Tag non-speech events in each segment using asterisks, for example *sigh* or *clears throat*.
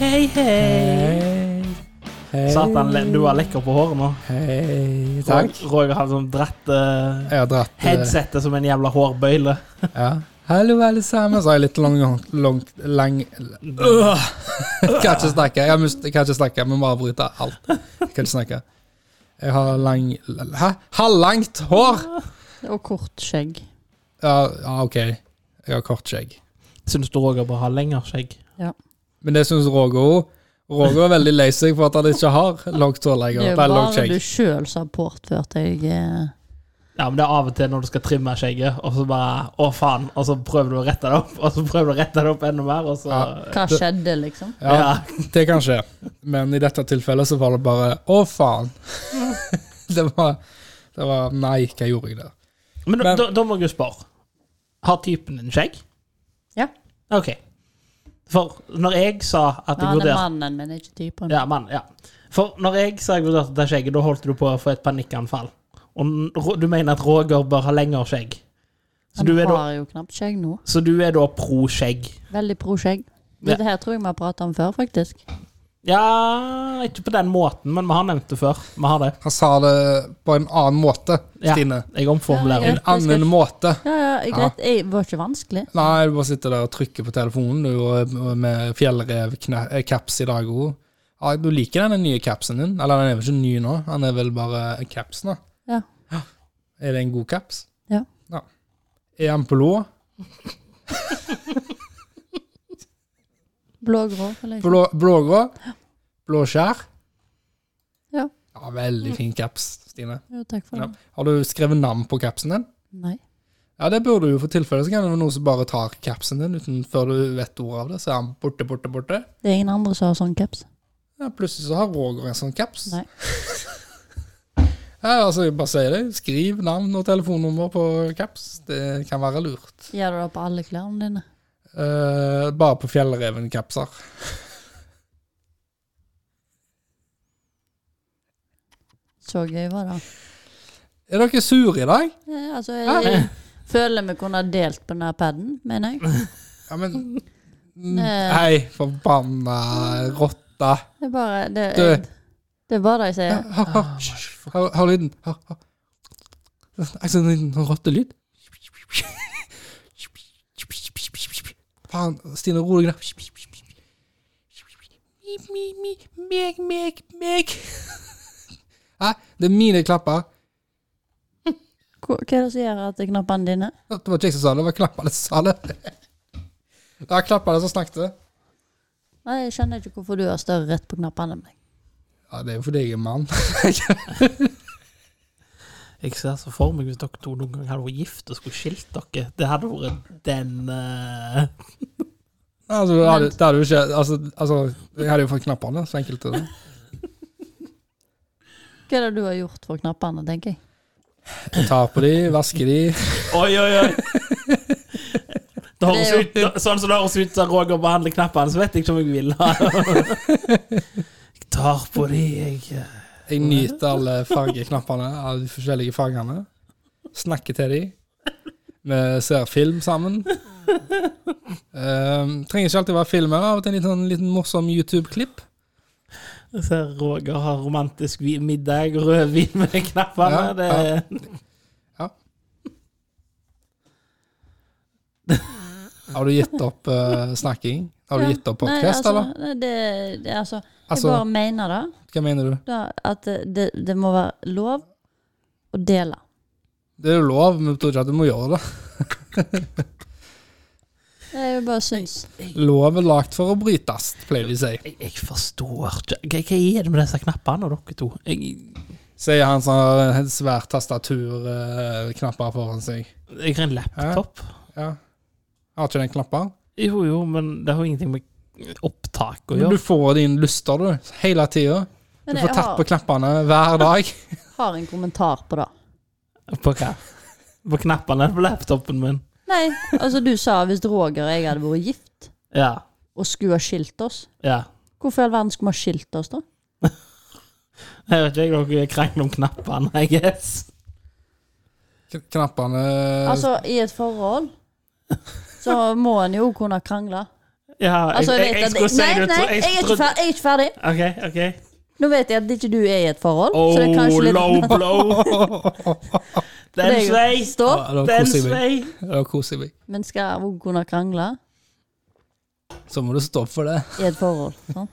Hei, hei. Hei. Satan, le- du var lekker på håret nå. Hei. Takk. Roger- Roger hadde sånn dratt eh, Jeg har dratt eh, headsetet som en jævla hårbøyle. Ja. Hallo, alle sammen. Så har jeg litt lang lang, lang øh. Kan ikke snakke. Jeg, har mist, jeg kan ikke snakke. Vi må avbryte alt. Jeg kan ikke snakke. Jeg har lang Hæ? Halvlangt hår! Og kort skjegg. Ja, ja, OK. Jeg har kort skjegg. Syns du Roger bør ha lengre skjegg? Men det syns Roger òg. Roger er veldig lei seg for at han ikke har langt hår Det er lenger. jo Nei, langt bare skjegg. du sjøl som har påført deg eh, Ja, men det er av og til når du skal trimme skjegget, og så bare Å, faen. Og så prøver du å rette det opp, og så prøver du å rette det opp enda mer, og så Ja. Hva skjedde, liksom? Ja, det kan skje. Men i dette tilfellet så var det bare Å, faen! *laughs* det, var, det var Nei, hva gjorde jeg der? Men, da- Men- da, da må jeg jo spørre. Har typen din skjegg? Ja. OK. For når jeg sa at jeg Han er vurderte mannen min, ikke typen. Ja, mann. Ja. For når jeg sa jeg vurderte det skjegget, da holdt du på å få et panikkanfall. Og n- Ro- du mener at Roger bør ha lengre skjegg. Så Han du, er da, har jo knapt skjegg nå. så du er da pro skjegg? Veldig pro skjegg. Ja. Dette her tror jeg vi har prata om før, faktisk. Ja Ikke på den måten, men vi har nevnt det før. Vi har det. Han sa det på en annen måte, Ja. Stine. Jeg omformulerer. Ja, En annen måte. Ja, ja, jeg Ja. greit. Jeg var ikke vanskelig. Nei, du bare sitter der og trykker på telefonen du, og- og med fjellrev-caps i dag òg. Ja, du liker den nye capsen din. Eller den er vel ikke ny nå, han er vel bare en caps nå. Ja. Er det en god caps? Ja. Er han blå? Blå-grå. eller ikke? Blå, blågrå? Blåskjær? Ja. ja. Veldig fin caps, Stine. Jo, takk for Ja. det. Har du skrevet navn på capsen din? Nei. Ja, det burde du jo for tilfelle. Så kan det være noen som bare tar capsen din uten før du vet ordet av det. Så er han borte, borte, borte. Det er ingen andre som har sånn caps. Ja, plutselig så har Roger en sånn caps. Nei. *laughs* ja, altså, jeg bare sier det. Skriv navn og telefonnummer på caps. Det kan være lurt. Gjør du det på alle klærne dine? Eh, bare på Fjellreven-capser. Så gøy var det. Er dere sure i dag? Ja, altså, jeg, jeg føler vi kunne ha delt på denne paden, mener jeg. Ja, men Nei. Hei, forbanna rotte. Det er bare det, Du. jeg, det er bare det jeg sier. Hør, hør, hør, hør lyden. Hør, hør. Jeg synes det er en sånn rottelyd. Faen, Stine, ro deg ned. Mi, mi, mi, meg, meg, meg. Hæ? Det er mine klapper. Hva hva er det som gjør at knappene dine Det var ikke jeg som sa det, det var klappene som sa det. Det var klappene som snakket. Nei, Jeg skjønner ikke hvorfor du har større rett på knappene enn meg. Ja, det er jo fordi jeg er mann. Jeg ser så for meg hvis dere to noen gang hadde vært gift og skulle skilt dere. Det hadde vært den eh, Altså, det hadde, det hadde jo ikke, altså, altså, jeg hadde jo fått knappene, så enkelt er det. Hva er det du har gjort for knappene, tenker jeg. Jeg tar på de, vasker de. Oi, oi, oi! *laughs* Det høres ut, Det sånn som det høres ut som Roger behandler knappene, så vet jeg ikke om jeg vil ha Jeg *laughs* tar på de, jeg. Jeg nyter alle fargeknappene av de forskjellige fargene. Snakker til de. Vi ser film sammen. Um, trenger ikke alltid være filmer. Av og til en liten, liten morsom YouTube-klipp. Jeg ser Roger har romantisk vi- middag, rødvin med knappene. Ja, det, Ja. Har du gitt opp eh, snakking? Har du Ja. gitt opp Nei, podkast, altså, eller? nei, Det, det, altså, jeg Altså, bare mener det. hva mener du? da, at det, det, det må være lov å dele. Det er jo lov, men jeg tror ikke at du må gjøre det. Det er jo bare syns. Lov er lagd for å brytes, pleier de å si. jeg, jeg forstår ikke Hva, hva er det med disse knappene, dere to? Jeg, Sier han som har et svært tastatur eh, knapper foran seg. jeg har en laptop. Ja. Har ikke den knapper? Jo, jo, men det har jo ingenting med opptak å Men gjøre. du får dine lyster, du. Hele tida. Du Men får jeg tatt på har, knappene hver dag. *laughs* har en kommentar på det. På hva? På knappene på laptopen min. Nei, altså du sa hvis Roger og jeg hadde vært gift Ja. og skulle ha skilt oss ja. Hvorfor i all verden skulle vi ha skilt oss, da? Jeg vet ikke, dere krangler om knappene, I guess. K- Knappene *laughs* Altså, i et forhold så må en jo kunne krangle. Ja, jeg, Altså, jeg, jeg vet jeg at- skulle si Nei, det nei, så jeg er ikke trodde- ferdig. Jeg er ikke ferdig. OK. ok. Nå vet jeg at ikke du er i et forhold. Oh, så det er kanskje *laughs* litt low blow. Den Det er jo- svei. Stopp. Ja, da Den koser jeg meg. svei. Da koser jeg meg. Men skal hun kunne krangle Så må du stå opp for det. i et forhold? sant?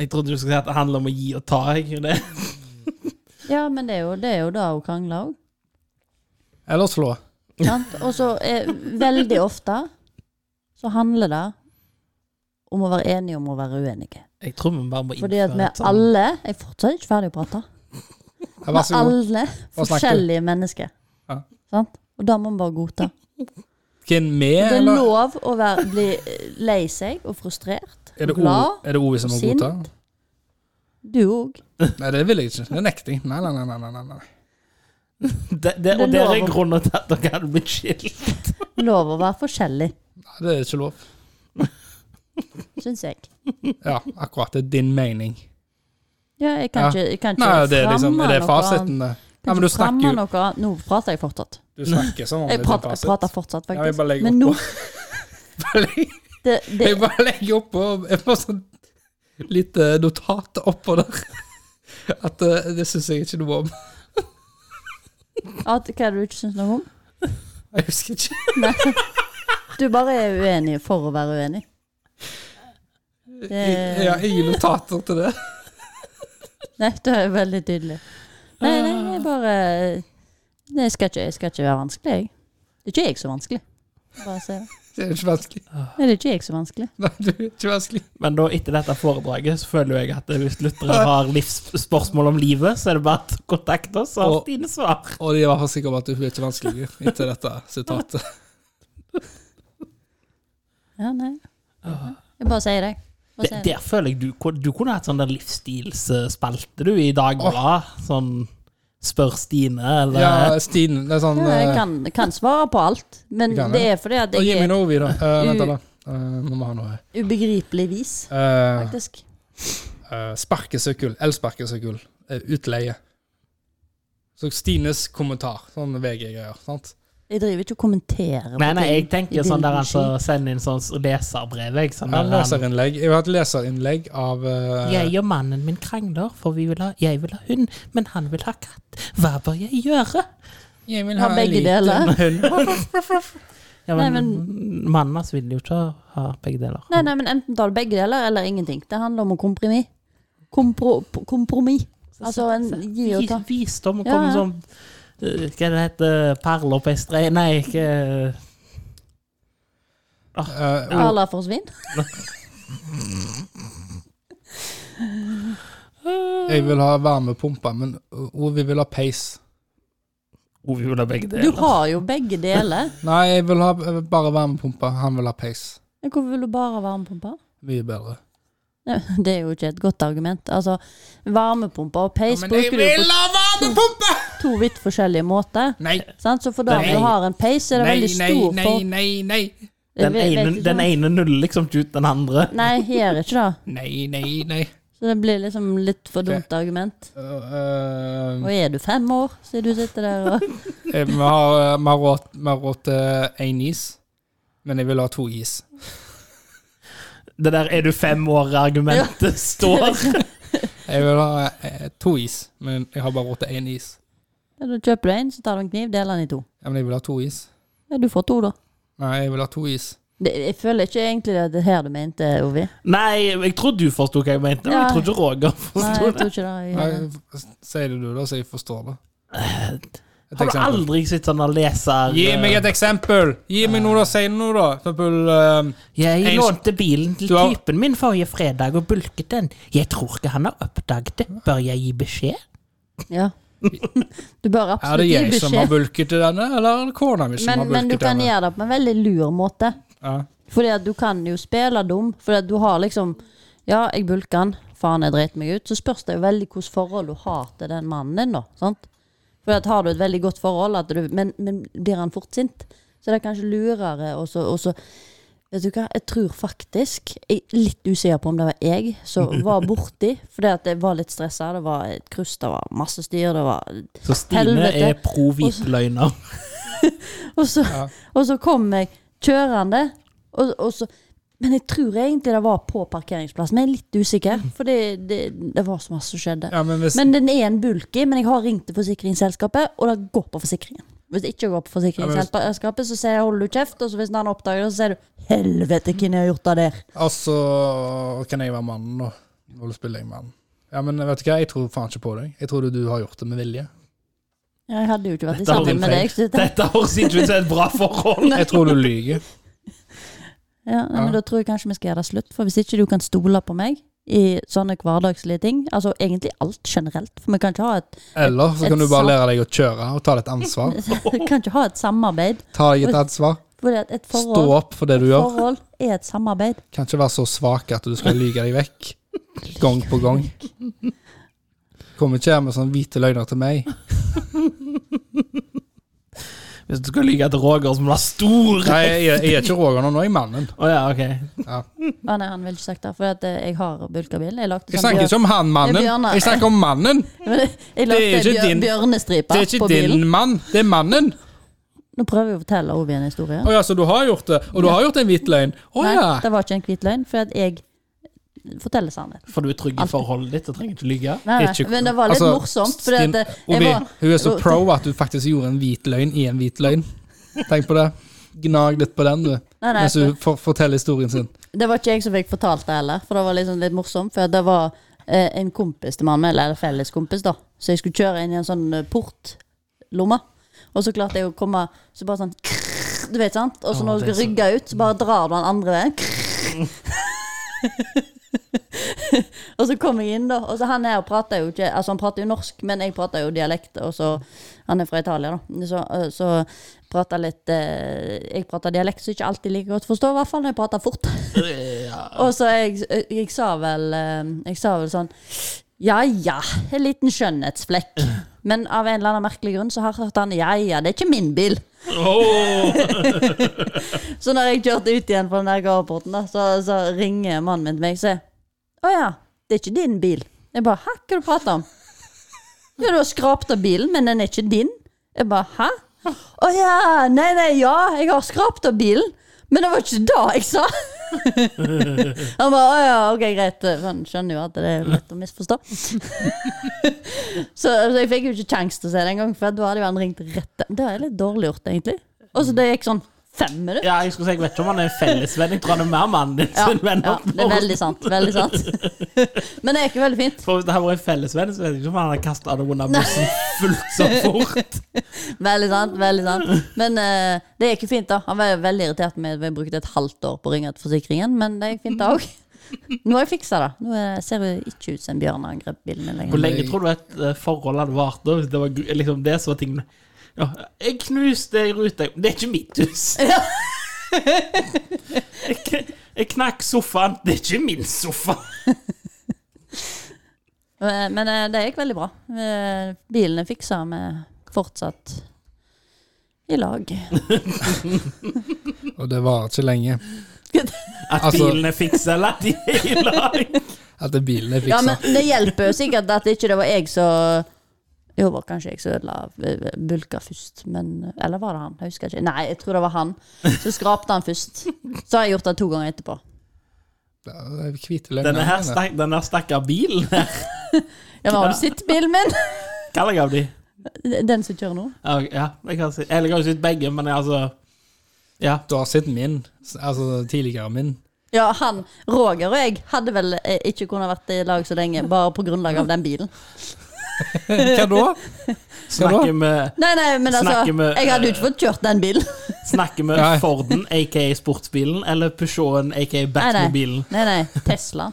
Jeg trodde du skulle si at det handler om å gi og ta. Jeg. Det. Ja, men det er jo, det er jo da hun krangler òg. Eller slå. Og så er veldig ofte så handler det om å være enige om å være uenige. Jeg tror vi bare må innføre Fordi at vi et sånt- alle Jeg er fortsatt ikke ferdig å prate. Ja, Vi vær er så god. alle Hva snakker du? forskjellige mennesker. Ja. Sant? Og da må vi bare godta. Hvem vi, Det er eller? lov å være, bli lei seg og frustrert. Er det O, glad, er det o som må sint. godta? Du òg. Nei, det vil jeg ikke. Det nekter jeg. Nei, nei, nei. nei, nei, nei. det, det, Og Det der er lover- grunnen til at dere hadde blitt skilt. Lov å være forskjellig, Nei, Det er ikke lov. syns jeg. Ja, akkurat. Det er din mening. Ja, jeg kan Ja. ikke, jeg kan ikke Nei, det er liksom, er det fasiten, det? Ja, men du snakker jo Noe. annet. Nå prater jeg fortsatt. Du snakker som om det er Jeg din prater, jeg fasit. prater fortsatt, Ja, jeg faktisk. bare legger Men nå opp Bare *laughs* legger- det, *laughs* det, Jeg bare legger opp og jeg får sånn lite notat oppå der. *laughs* At eh, det syns jeg ikke noe om. *laughs* at, Hva er det du ikke syns noe om? Jeg husker ikke. Nei. Du bare er uenig for å være uenig. Det- Jeg har ingen notater til det. *laughs* Nei, det er veldig tydelig. Nei, nei, Ah. jeg bare Nei, jeg skal ikke, jeg skal ikke være vanskelig, jeg. Det er ikke jeg som er vanskelig. Bare si det. Det er ikke vanskelig. Nei, det er ikke jeg som er vanskelig. Nei, du er ikke vanskelig. Men da, etter dette foredraget så føler jeg at hvis lyttere har livsspørsmål om livet, så er det bare å kontakte oss og Og- dine svar. Og de var sikre på at hun er ikke vanskelig etter dette *laughs* sitatet. Ja, nei. Ah. Jeg bare sier det. Bare Det, sier det. der føler jeg du, kun- du kunne hatt sånn der livsstilsspalte du i Dagbladet. Sånn Spør Stine, eller Ja, Stine, det er sånn Ja, jeg eh, kan, kan svare på alt, men Du kan det Mm. det. er fordi at Gi jeg meg er noe, Vidar. Eh, Vent, U- da. Eh, Nå må vi ha noe her. ubegripelig vis, Eh, faktisk. Eh, sparkesykkel, elsparkesykkel, eh, utleie. Så Stines kommentar, sånn VG-greier. sant? Jeg driver ikke og kommenterer. på Nei, nei, jeg ting i tenker sånn der bildens altså Send inn sånn leserbrev, jeg. Sånn Eh, der, han- leserinnlegg. Jeg har hatt leserinnlegg av eh, jeg og mannen min krangler, for vi vil ha, jeg vil ha hund, men han vil ha katt. Hva bør jeg gjøre? jeg vil ha en begge liten deler. *laughs* hund. Ja, Nei, men, mannen hans vil jo ikke ha begge deler. Nei, nei, men enten tar du begge deler eller ingenting. Det handler om å kompromiss. Kompro, kompromiss. Altså en gi og ta. Vis- Visdom å Ja, komme ja. som eh, Hva det heter Perler på ei strei Nei, ikke Eh, og- Perler forsvinner. jeg vil ha varmepumpe, men og vi vil ha peis. Ove vil ha begge Du har jo begge deler. Nei, jeg vil ha eh, bare varmepumpe. Han vil ha peis. Men Hvorfor vil du bare ha varmepumper? Mye bedre. Nei, Det er jo ikke et godt argument. Altså, varmepumper og peis Men jeg bruker du jo vil på ha varmepumpe! to vidt forskjellige måter. Nei, Sant? Så for da Nei. du har en peis, er det nei, veldig nei, stor nei, for nei, nei. Den Jeg vet ene, ikke sånn. den om- ene nuller liksom ikke ut den andre. Nei, gjør ikke det. Nei, nei, nei. Så det blir liksom litt for dumt argument. Eh, eh, Og er du fem år, så du sitter der og Eh, Vi har, vi har råd- vi har råd til én is, men jeg vil ha to is. Det der 'er du fem *laughs* år'-argumentet står. Jeg vil ha eh, to is, men jeg har bare råd til én is. Ja, Da kjøper du en, så tar du en kniv, deler den i to. Ja, men jeg vil ha to is. Ja, du får to, da. Nei, jeg vil ha to is. Det, jeg føler ikke egentlig det er det her du mente, Ovi. Nei, jeg tror du forsto hva jeg mente, men jeg Ja. tror ikke Roger Nei, forsto jeg det. tror ikke det. Nei, Jeg, f- Si det du, da, så jeg forstår *clears throat* det. Et Har du eksempel. aldri sett sånne leser... eh, Gi meg et eksempel! Gi meg noe, da. Si noe, da. For eksempel eh, Jeg En- lånte bilen til Du har- typen min forrige fredag og bulket den. Jeg tror ikke han har oppdaget det. Bør jeg gi beskjed? ja. Du bør Er det absolutt gi jeg som har beskjed, bulket i denne, eller er det kona mi som men, har men du bulket i kan denne? gjøre det på en veldig lur måte. Ja. Fordi at du kan jo spille dum, fordi at du har liksom Ja, jeg bulker han, faen, jeg dreit meg ut. Så spørs det jo veldig hvilket forhold du har til den mannen din, da. Sant? For at har du et veldig godt forhold, at du, men, men blir han fort sint, så det er kanskje lurere og så, og så Vet du hva, jeg tror faktisk Jeg er litt usikker på om det var jeg som var borti, fordi at jeg var litt stressa. Det var et kryss, det var masse styr, det var Så Stine Helvete. er pro hviteløgner. *laughs* Og så, og så kom jeg kjørende, og, og så Men jeg tror egentlig det var på parkeringsplass, men jeg er litt usikker. For det, det, det var så masse som skjedde. Ja, men hvis, Men den er en bulky, men jeg har ringt til forsikringsselskapet, og det går på forsikringen. Hvis det ikke går på forsikringsselskapet, så sier jeg 'hold du kjeft', og så hvis han oppdager det, så sier du 'helvete, hvem har gjort det der'? Altså, kan jeg være mannen nå? Nå spiller jeg mannen. Ja, men vet du hva, jeg tror faen ikke på deg. Jeg tror du har gjort det med vilje. Jeg hadde jo ikke vært Dette sammen høres med deg. feil. så dette- *laughs* Dette høres ikke ut som et bra forhold. Jeg tror du lyver. Ja, nei, men Da tror jeg kanskje vi skal gjøre det slutt, for hvis ikke du kan stole på meg i sånne hverdagslige ting, altså egentlig alt generelt, for vi kan ikke ha et, Eller så kan Et du bare sant- lære deg å kjøre og ta ditt ansvar. *laughs* kan ikke ha et samarbeid. Ta deg et ansvar. Fordi at et Stå forhold, opp for det du gjør. forhold er et samarbeid. Kan ikke være så svak at du skal lyge deg vekk. Gang på gang. Kom ikke her med sånne hvite løgner til meg. Hvis du skal lyge til Roger, så må du ha stor Nei, jeg, jeg er ikke Roger nå, nå er jeg mannen. Å ja, ok. Å Ah, nei, han ville ikke sagt det, for at eh, jeg har bulkabil. Jeg lagde Jeg sånn snakker ikke om han mannen. Det er Bjørnar. Jeg snakker om mannen. *laughs* Jeg Det er lagde ikke din- bjør, bjørnestriper Det er ikke på bilen. din mann, det er mannen. Nå prøver jeg å fortelle Ovi en historie. Å ja, så du har gjort det. Og du har gjort en hvit løgn. Å Nei, ja. det var ikke en hvit løgn, for at jeg forteller sannhet. For du er trygg i forholdet ditt og trenger ikke lyge. Nei, nei, Ikke- men det var litt altså, morsomt. For at Stine- eh, jeg Obi, var, hun er så jeg var- pro at du faktisk gjorde en hvit løgn i en hvit løgn. Tenk på det. Gnag litt på den, du. Nei, nei, Mens du for, forteller historien sin. det var ikke jeg som fikk fortalt det heller, for det var liksom litt morsomt. For at det var eh, en kompis til mamma, eller en felles kompis, da. Så jeg skulle kjøre inn i en sånn eh, portlomme. Og så klarte jeg å komme Så bare sånn Du vet, sant? Og så Å, når det du er skal rygge ut, så bare drar du den andre veien. *laughs* og så kom jeg inn, da. Og så han her prater jo ikke Altså, han prater jo norsk, men jeg prater jo dialekt. Og så Han er fra Italia, da. Så, øh, så prater litt eh, Jeg prater dialekt som ikke alltid like godt forstår, i hvert fall når jeg prater fort. Og så jeg, jeg, jeg sa vel eh, Jeg sa vel sånn Ja ja, en liten skjønnhetsflekk. Men av en eller annen merkelig grunn så har jeg hørt han Ja ja, det er ikke min bil. Åh. Så når jeg kjørte ut igjen på den der gaveporten, da, så, så ringer mannen min til meg og sier Å ja, det er ikke din bil. Jeg bare Hæ, hva du prater om? Ja, du har skrapt av bilen, men den er ikke din. Jeg bare Hæ? Å ja, nei, nei, ja, jeg har skrapt av bilen. Men det var ikke det jeg sa. Han bare Å ja, ok, greit. For Han skjønner jo at det er lett å misforstå. så, så jeg fikk jo ikke kjangs til å se det engang, for da hadde jo han ringt rett Det er litt dårlig gjort, egentlig. Og så det gikk sånn fem minutter. Ja, jeg skulle si, jeg vet ikke om han er en fellesvenn. Jeg tror han er mer mannen din Ja, sin venn. ja, det er veldig sant. Veldig sant. *laughs* Men det gikk jo veldig fint. For hvis det hadde vært en fellesvenn, så vet jeg ikke om han hadde kasta det under bussen fullt så *laughs* fort. Veldig sant, veldig sant. Men eh, det gikk jo fint, da. Han var jo veldig irritert med at vi brukte et halvt år på å ringe til forsikringen, men det gikk fint, da òg. Nå har jeg fiksa det. Nå eh, ser det ikke ut som en bjørn har angrepet bilen min Hvor lenger. lenge tror du et eh, forhold hadde vart da? Hvis det var gru- liksom det som var tingen. Ja, jeg knuste ei rute Det er ikke mitt hus. *laughs* Jeg, kn- jeg knakk sofaen. Det er ikke min sofa. Eh, Men eh, det gikk veldig bra. Eh, Bilen er fiksa med fortsatt i lag. Og det varer ikke lenge. At Altså- bilene fikser eller *laughs* at de er i lag. At det bilen er Ja, fiksa. liksom. men det hjelper jo sikkert at ikke det var jeg som Jo, det var kanskje jeg som ødela eh, bulka først, men Eller var det han? Jeg husker ikke. Nei, jeg tror det var han. Så skrapte han først. Så har jeg gjort det to ganger etterpå. Det er Hvite løgner. Denne her stakk, denne her stakkar *laughs* bilen her. Ja, men har du sett bilen min? Hva legger jeg av de? Den som kjører nå? Ja, Ja, jeg kan si. Eller jeg har jo sett begge, men jeg, altså Ja. Du har sett min. Altså tidligere min. Ja, han Roger og jeg hadde vel eh, ikke kunnet vært i lag så lenge bare på grunnlag av den bilen. Hva da? Snakker med, Nei, nei, men altså Snakker med, Jeg hadde jo ikke fått kjørt den bilen. snakker *laughs* med Nei. Forden, aka sportsbilen, eller Peugeoten, aka Nei, nei. Batmobilen. nei, nei. Tesla.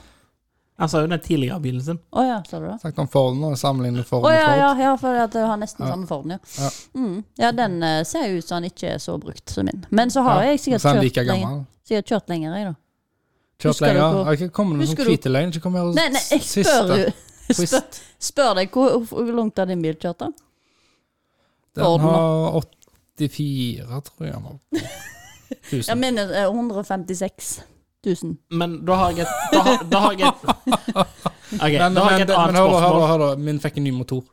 Han sa jo den tidligere bilen sin. Å ja, sa du det? Snakket om Forden og sammenlignet Forden Å med ja, Ford. ja, ja, for at det har nesten samme form, ja. Ja. Ja. Mm. ja, den eh, ser jo ut som den ikke er så brukt som min. Men så har Ja, jeg sikkert Så er han kjørt, like lenger, gammel. sikkert kjørt lenger, jeg, da. Kjørt Husker du lenger. hvor- Har ikke kommet noen Husker sånn du- hvite løgn. Ikke kom her og Nei, nei, jeg spør siste. jo Twist. spør, spør deg, hvor, hvor langt har din bil kjørt, da? Den Forden, da. har 84, tror jeg han var. Ja, Tusen. min er eh, 156 000. Men da har jeg et Da har, da har jeg et *laughs* Ok, Men, da har men, jeg et men annet hør, da, hør, da, spørsmål. hør, da. Min fikk en ny motor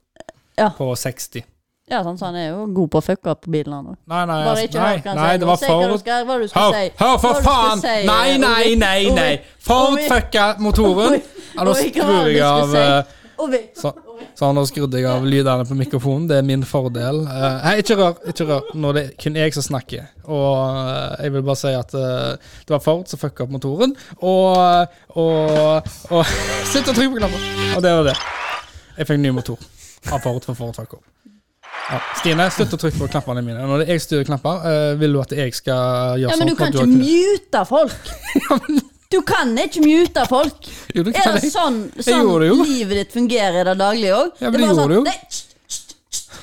Ja. på 60. Ja, sant, så han er jo god på å fucke opp på bilen, han òg. Nei, nei, Bare altså, ikke nei, hør hva han nei, sier. det var Si hva du forut. skal- Hva du skal Hør, si. hør, Hva for du faen! skal si. Nei, nei, nei, nei! Ovi, Forut Ovi, fucka *laughs* motoren. Ja, nå Ovi, hva var skrur det jeg du av skulle eh, Ovi. så, så nå skrudde jeg av lydene på mikrofonen. Det er min fordel. Eh, Nei, ikke rør. ikke rør Nå er det kun jeg som snakker. Og eh, jeg vil bare si at eh, det var Ford som fucka opp motoren. Og, eh, og, og *laughs* Slutt å trykke på knappen! Og det var det. Jeg fikk ny motor av Ford for Ford fucka opp. Ja. Stine, slutt å trykke på knappene mine. Når det er jeg styrer knapper, eh, vil du at jeg skal gjøre Ja, men sånn? du kan for ikke at har- mute *laughs* folk! Du kan ikke mute folk! Jo, det Er kan det jeg. sånn, Jeg sånn gjorde det jo. livet ditt fungerer i det daglige òg? Ja, men det gjorde du jo. Nei, hysj, hysj,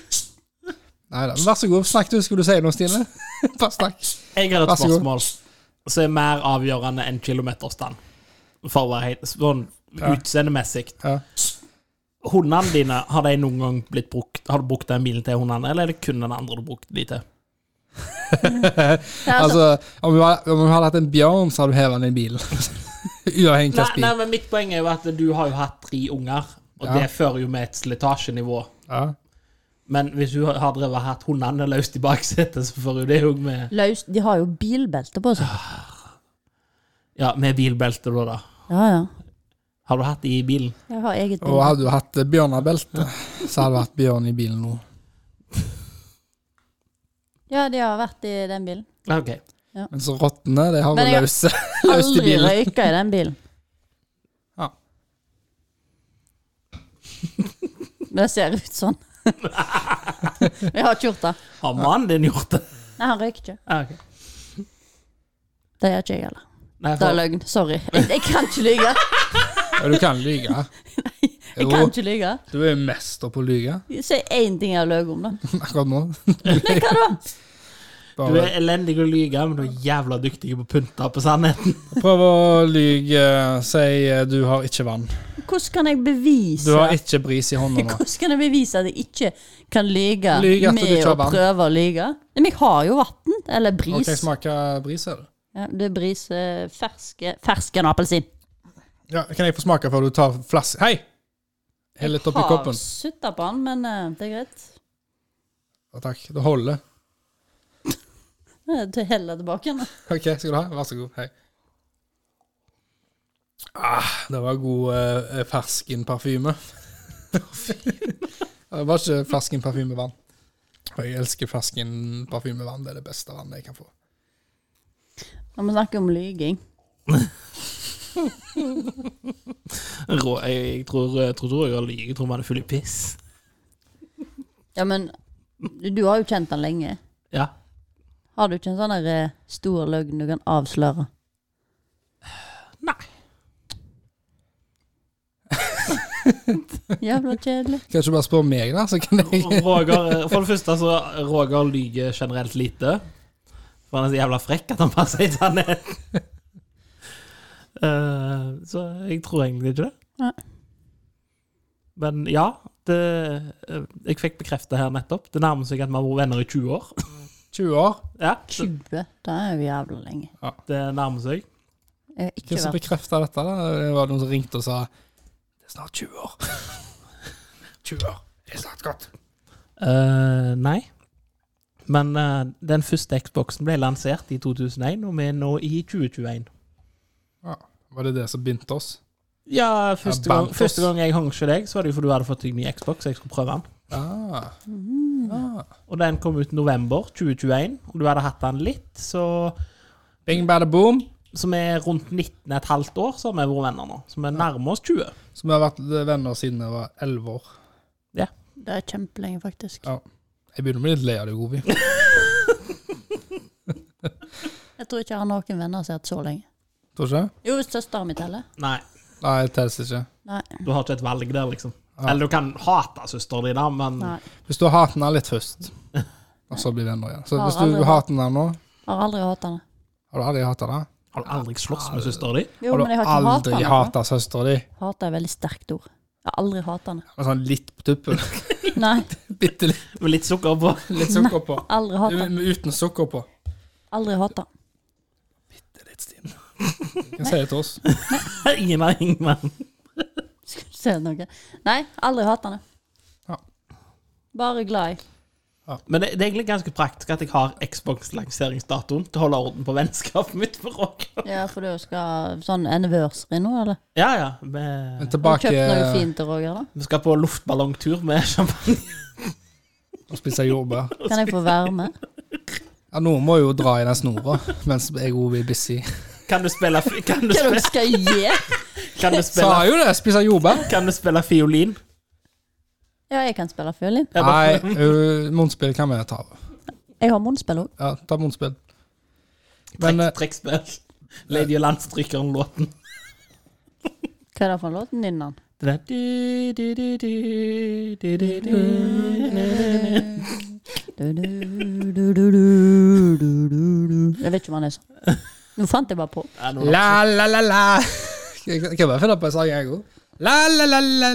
hysj. Neida, Vær så god, snakk du. Skulle du si noe, Stine? *laughs* Bare snakk. Jeg har Vær et så god. spørsmål som er mer avgjørende enn kilometerstand. For å være helt sånn utseendemessig. Ja. Hundene dine, har de noen gang blitt brukt Har du brukt den bilen til hundene, eller er det kun den andre du brukte de til? Det er sånn- Altså, om du, hadde, om du hadde hatt en bjørn, så hadde du hevet den i bilen. *laughs* Uavhengig av Nei, hvilken nei, bil. men Mitt poeng er jo at du har jo hatt tre unger, og Ja. det fører jo med et slitasjenivå. Ja. Men hvis du har drevet hatt hundene løst i baksetet, så fører jo det òg med Løs, de har jo bilbelte på seg. Ja, med bilbelte, da. da. Ja, ja. Har du hatt de i bilen? Jeg har eget Og bilde. hadde du hatt eh, bjørnebelte, så hadde du hatt bjørn i bilen nå. Ja, de har vært i den bilen. Ja, OK. Men så rottene, de har Men jo jeg- løse, løst i Aldri bilen. røyka i den bilen. Ja. Men det ser *laughs* ut sånn. Jeg har ikke gjort det. Har mannen din gjort det? Nei, han røyker ikke. Ja, ok. Det gjør ikke jeg heller. Nei, Det er for, løgn. Sorry. Jeg, jeg kan ikke lyve. Ja, du kan *laughs* lyge. Jeg Jo, kan ikke lyve. du er jo mester på å lyge Si én ting jeg har løyet om, *laughs* da. akkurat nå. Nei, *laughs* hva da? du Bare er elendig til å lyge, men du er jævla dyktig på å pynte på sannheten. prøv å lyge. Si eh, du har ikke vann. Hvordan kan jeg Du bevise har ikke bris i *laughs* hånda nå. Hvordan kan jeg bevise at jeg ikke kan lyge Lyge at du med ikke har å vann. prøve å lyge? Nei, men jeg har jo vann. Eller Ok, bris. smaker bris, er det? ja, det er bris eh, ferske, fersken og appelsin. Ja, kan jeg få smake før du tar flaske? Hei! Hell litt oppi koppen. Har sutta på den, men eh, det er greit. Ja, takk. Det holder. Eh, Du heller tilbake igjen. da. Ok, skal du ha? Vær så god. Hei. Ah, det var god eh, ferskenparfyme. *laughs* det var ikke ferskenparfymevann. Og jeg elsker ferskenparfymevann. Det er det beste vannet jeg kan få. Når vi snakker om lyging. *laughs* Rå, jeg, jeg tror jeg tror, tror jeg har lyget. Jeg tror man er full i piss. Ja, men du du har jo kjent han lenge. Ja. Har du ikke en sånn der, eh, stor løgn du kan avsløre? Nei. *laughs* Jævla kjedelig. Kan du ikke bare spørre meg, da? Så kan *laughs* jeg Roger, for det første så Roger lyger generelt lite. For han er så jævla frekk at han passer i sannheten. *laughs* Eh, så jeg tror egentlig ikke det. Nei. Men ja, det, eh, jeg fikk bekrefta her nettopp. Det nærmer seg at vi har vært venner i 20 år. 20 år. Ja, 20, det er jo jævla lenge. det eh, nærmer seg. Jeg har ikke Hvem som vært bekrefta dette? da? Det var noen som ringte og sa Det er snart 20 år. *laughs* 20 år. Det er snart godt. Eh, nei. Men eh, den første Xboxen ble lansert i 2001, og vi er nå i 2021. Ja. Var det det som bindte oss? Ja, første, Ja, gang, Bantos. første gang jeg hang ikke deg, så var det jo fordi du hadde fått deg ny Xbox. Jeg skulle prøve den. Ah. Mm. Ah. Og den kom ut i november 2021, og du hadde hatt den litt, så Bing, bada, boom. som er rundt 19 et halvt år, så har vi vært venner nå. Så vi nærmer oss 20. Så vi har vært venner siden jeg var 11 år. Det er kjempelenge, faktisk. Ja. Jeg begynner å bli litt lei av det, Govi. Jeg tror ikke jeg har noen venner som har hatt så lenge. Tror ikke? Jo, søsteren min teller. Nei, Nei, det telles ikke. Nei. Mm. du har ikke et valg der, liksom. Eller du kan hate søsteren din, da, men Nei. Hvis du hater den litt først, og så blir venner igjen. Så Har hvis du aldri hatt- hater den nå Har aldri hatt henne. Har du aldri hatet den? har du aldri slåss med søsteren din? Jo, Har men du jeg har ikke hatt aldri henne. hatet søstera di? Hat er et veldig sterkt ord. Jeg har aldri hatt henne. Sånn litt på *laughs* tuppen. Nei, Bitte litt, Med litt sukker på? litt sukker på. aldri hatt henne. Uten sukker på. Aldri hatt henne. *laughs* Det er litt stinn. Kan si det til oss. *laughs* Ingen av ingen. Skal du se noe? Nei, aldri hatt henne. Ja. Bare glad i. Men det, det er egentlig ganske praktisk at jeg har Xbox-lanseringsdatoen til å holde orden på vennskapet mitt for rock. Ja, for du skal sånn anniversary nå, eller? Ja, ja. Vi, Men Har du tilbake eh, kjøpt noe fint til Roger, da? vi skal på luftballongtur med champagne. og spise jordbær. Kan jeg få være *laughs* med? Ja, noen må jo dra i den snora mens jeg òg blir busy. Kan du spille fi- Kan du Hva spille, dere skal gi? kan du Sa spille, jo det! Spise jordbær. kan du spille fiolin? Ja, jeg kan spille fiolin. Jeg Nei, bare- uh, munnspill kan vi ta. Jeg har munnspill òg. Ja, ta munnspill. Men Trekk- eh, Trekkspill. Lady og Landstrykeren-låten. Hva er det for en låt? Nynnan. Det der du, du, du, du, du, du, du. Jeg vet ikke om han er sånn. Nå fant jeg bare på. Ja, nå- la, la, la, la. *laughs* Jeg Kan bare finne på en sang, jeg òg. La, la, la, la.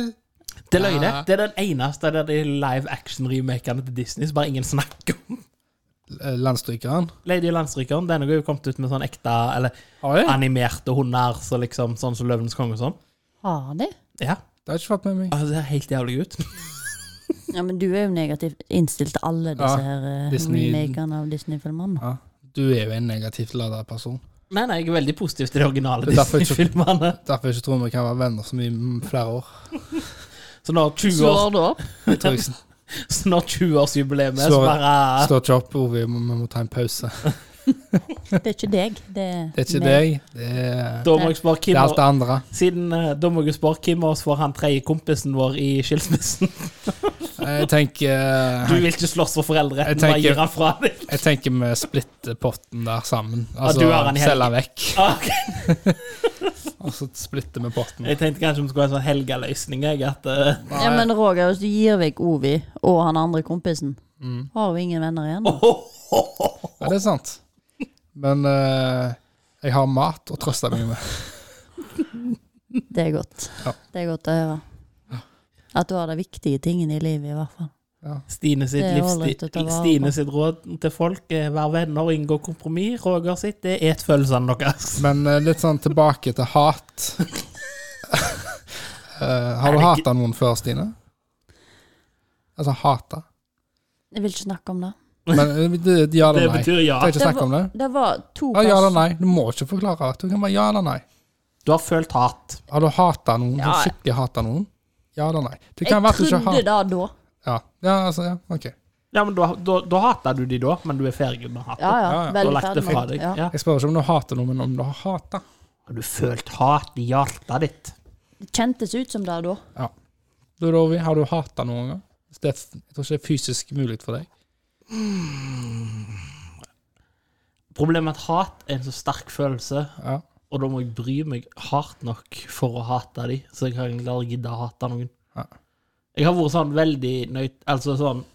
Det er løgne. Det er den eneste av de live action-remakene til Disney som bare ingen snakker om. Eh, Landstrykeren. Lady og Landstrykeren denne har jo kommet ut med sånn ekte Eller Har jeg? *laughs* animerte hunder, så liksom, sånn som Løvenes konge og sånn. Har de? Ja, Det har jeg ikke fått med meg. altså, Det ser helt jævlig ut. *laughs* Ja, men du er jo negativt innstilt til alle disse Ja, her eh, Disney- remakene av Disney-filmene. Ja. Du er jo en negativt lada person. Nei, nei, jeg er veldig positiv til de originale Det er derfor jeg ikke- Disney-filmene. Derfor jeg ikke tror vi kan være venner så mye i flere år. Så når 20 år- Slår du opp? Jeg tror jeg s- *laughs* så når 20-årsjubileet 20 er, så Slår- bare står ikke opp, Ovi. Vi må ta en pause. Det er ikke deg. Det er, Det er ikke meg. deg. Det er, Da må jeg spørre det Kim er alt og, det andre. Siden eh, da må jeg spørre Kim og oss for han tredje kompisen vår i skilsmissen. Jeg tenker *laughs* Du eh, vil ikke slåss for Jeg foreldreretten, tenker- bare gir han fra deg. *laughs* Jeg tenker vi splitter potten der sammen. Altså du har den i selger den vekk, Ah, ok. og så splitter vi potten. Jeg tenkte kanskje vi skulle ha en sånn helgeløsning. Jeg, at, eh, Ja, men Roger, hvis du gir vekk Ovi og han andre kompisen, Mm. har jo ingen venner igjen. Ja, det er sant. Men eh, jeg har mat å trøste meg med. Det er godt. Ja. Det er godt å høre. At du har de viktige tingene i livet, i hvert fall. Stine sitt, Det er ålreit å livsstil, ta vare på. Stine sitt råd til folk er vær venner og inngå kompromiss. Roger sitt det er et følelsene deres. Men eh, litt sånn tilbake til hat. *laughs* Eh, har du Er det hata noen før, Stine? Altså hata. Jeg vil ikke snakke om det. Men eh, det- ja Det eller nei. betyr ja. Trenger ikke Det snakke om det. Det var to Ja, ja pers- eller nei. Du må ikke forklare. Du kan bare ja eller nei. Du har følt hat. Har du hata noen? Ja, Sånn jeg- Skikkelig hata noen? Ja eller nei? Det kan Jeg være at du ikke trodde har det da. ja. ja, altså, ja, ok. Ja, men Da, da, da hater du de da, men du er ferdig med hatet. Ja, ja. Ja, ja. Du har Veldig lagt det ferdig fra med deg. Ja. Ja. Jeg spør ikke om du hater noen, men om du har hata. Har du følt hat i hjertet ditt? Det kjentes ut som det da. Du, Rovi, har du hata noen gang? Hvis Det er, jeg tror ikke det er fysisk mulig for deg. Problemet er at hat er en så sterk følelse, Ja. og da må jeg bry meg hardt nok for å hate de, så jeg har egentlig aldri giddet å hate noen. Ja. Jeg har vært sånn veldig nøyt... Altså sånn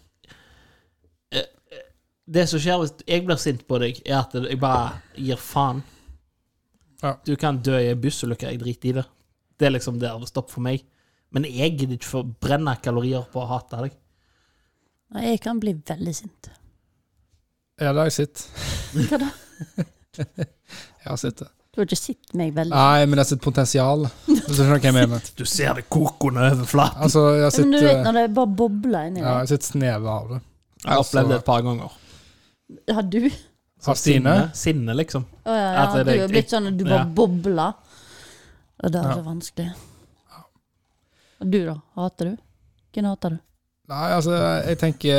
eh, eh, Det som skjer hvis jeg blir sint på deg, er at jeg bare gir faen. Ja. Du kan dø i en bussulykke, jeg driter i det. Det er liksom der det stopper for meg. Men jeg gidder ikke for å brenne kalorier på å hate deg. Nei, Jeg kan bli veldig sint. Ja, det har jeg sett. *laughs* Hva da? Jeg har sett det. Du har ikke sett meg veldig Nei, men det er sitt potensial. Hvis du skjønner hva jeg mener. Du ser det kokende overflaten. Altså, jeg har Men sett, du vet eh, når det bare bobler inni ja, jeg deg. har sett snevet av det. Jeg har opplevd det et par ganger. Har du? Av Stine? Sinne, sinne, liksom. Å, ja, ja. At det- Du er blitt sånn at du bare ja. bobler. Og det er Ja. så vanskelig. Og du, da? Hater du? Hvem hater du? Nei, altså, jeg tenker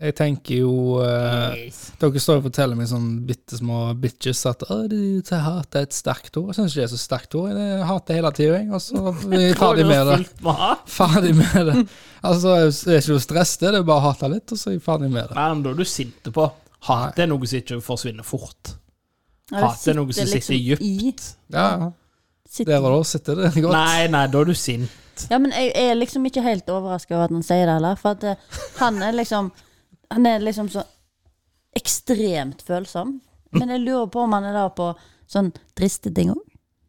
Jeg tenker jo eh, Dere står og forteller meg sånn bitte små bitches at å, du så hat er et sterkt ord. Jeg syns ikke det er så sterkt ord. Jeg hater hele tida, jeg. Og så er jeg ferdig med det. Fullt med hat. Ferdig med det. Altså, det er ikke noe stress, det. Det er bare å hate litt, og så er jeg ferdig med det. Nei, men da er du sint på. Hat er noe som ikke forsvinner fort. Ja, det liksom Hat er noe som sitter i- dypt. Ja, sitter- Der og da sitter det godt. Nei, nei, da er du sint. Ja, men jeg er liksom ikke helt overraska over at han sier det heller. For at eh, han er liksom Han er liksom så ekstremt følsom. Men jeg lurer på om han er da på sånn triste ting òg.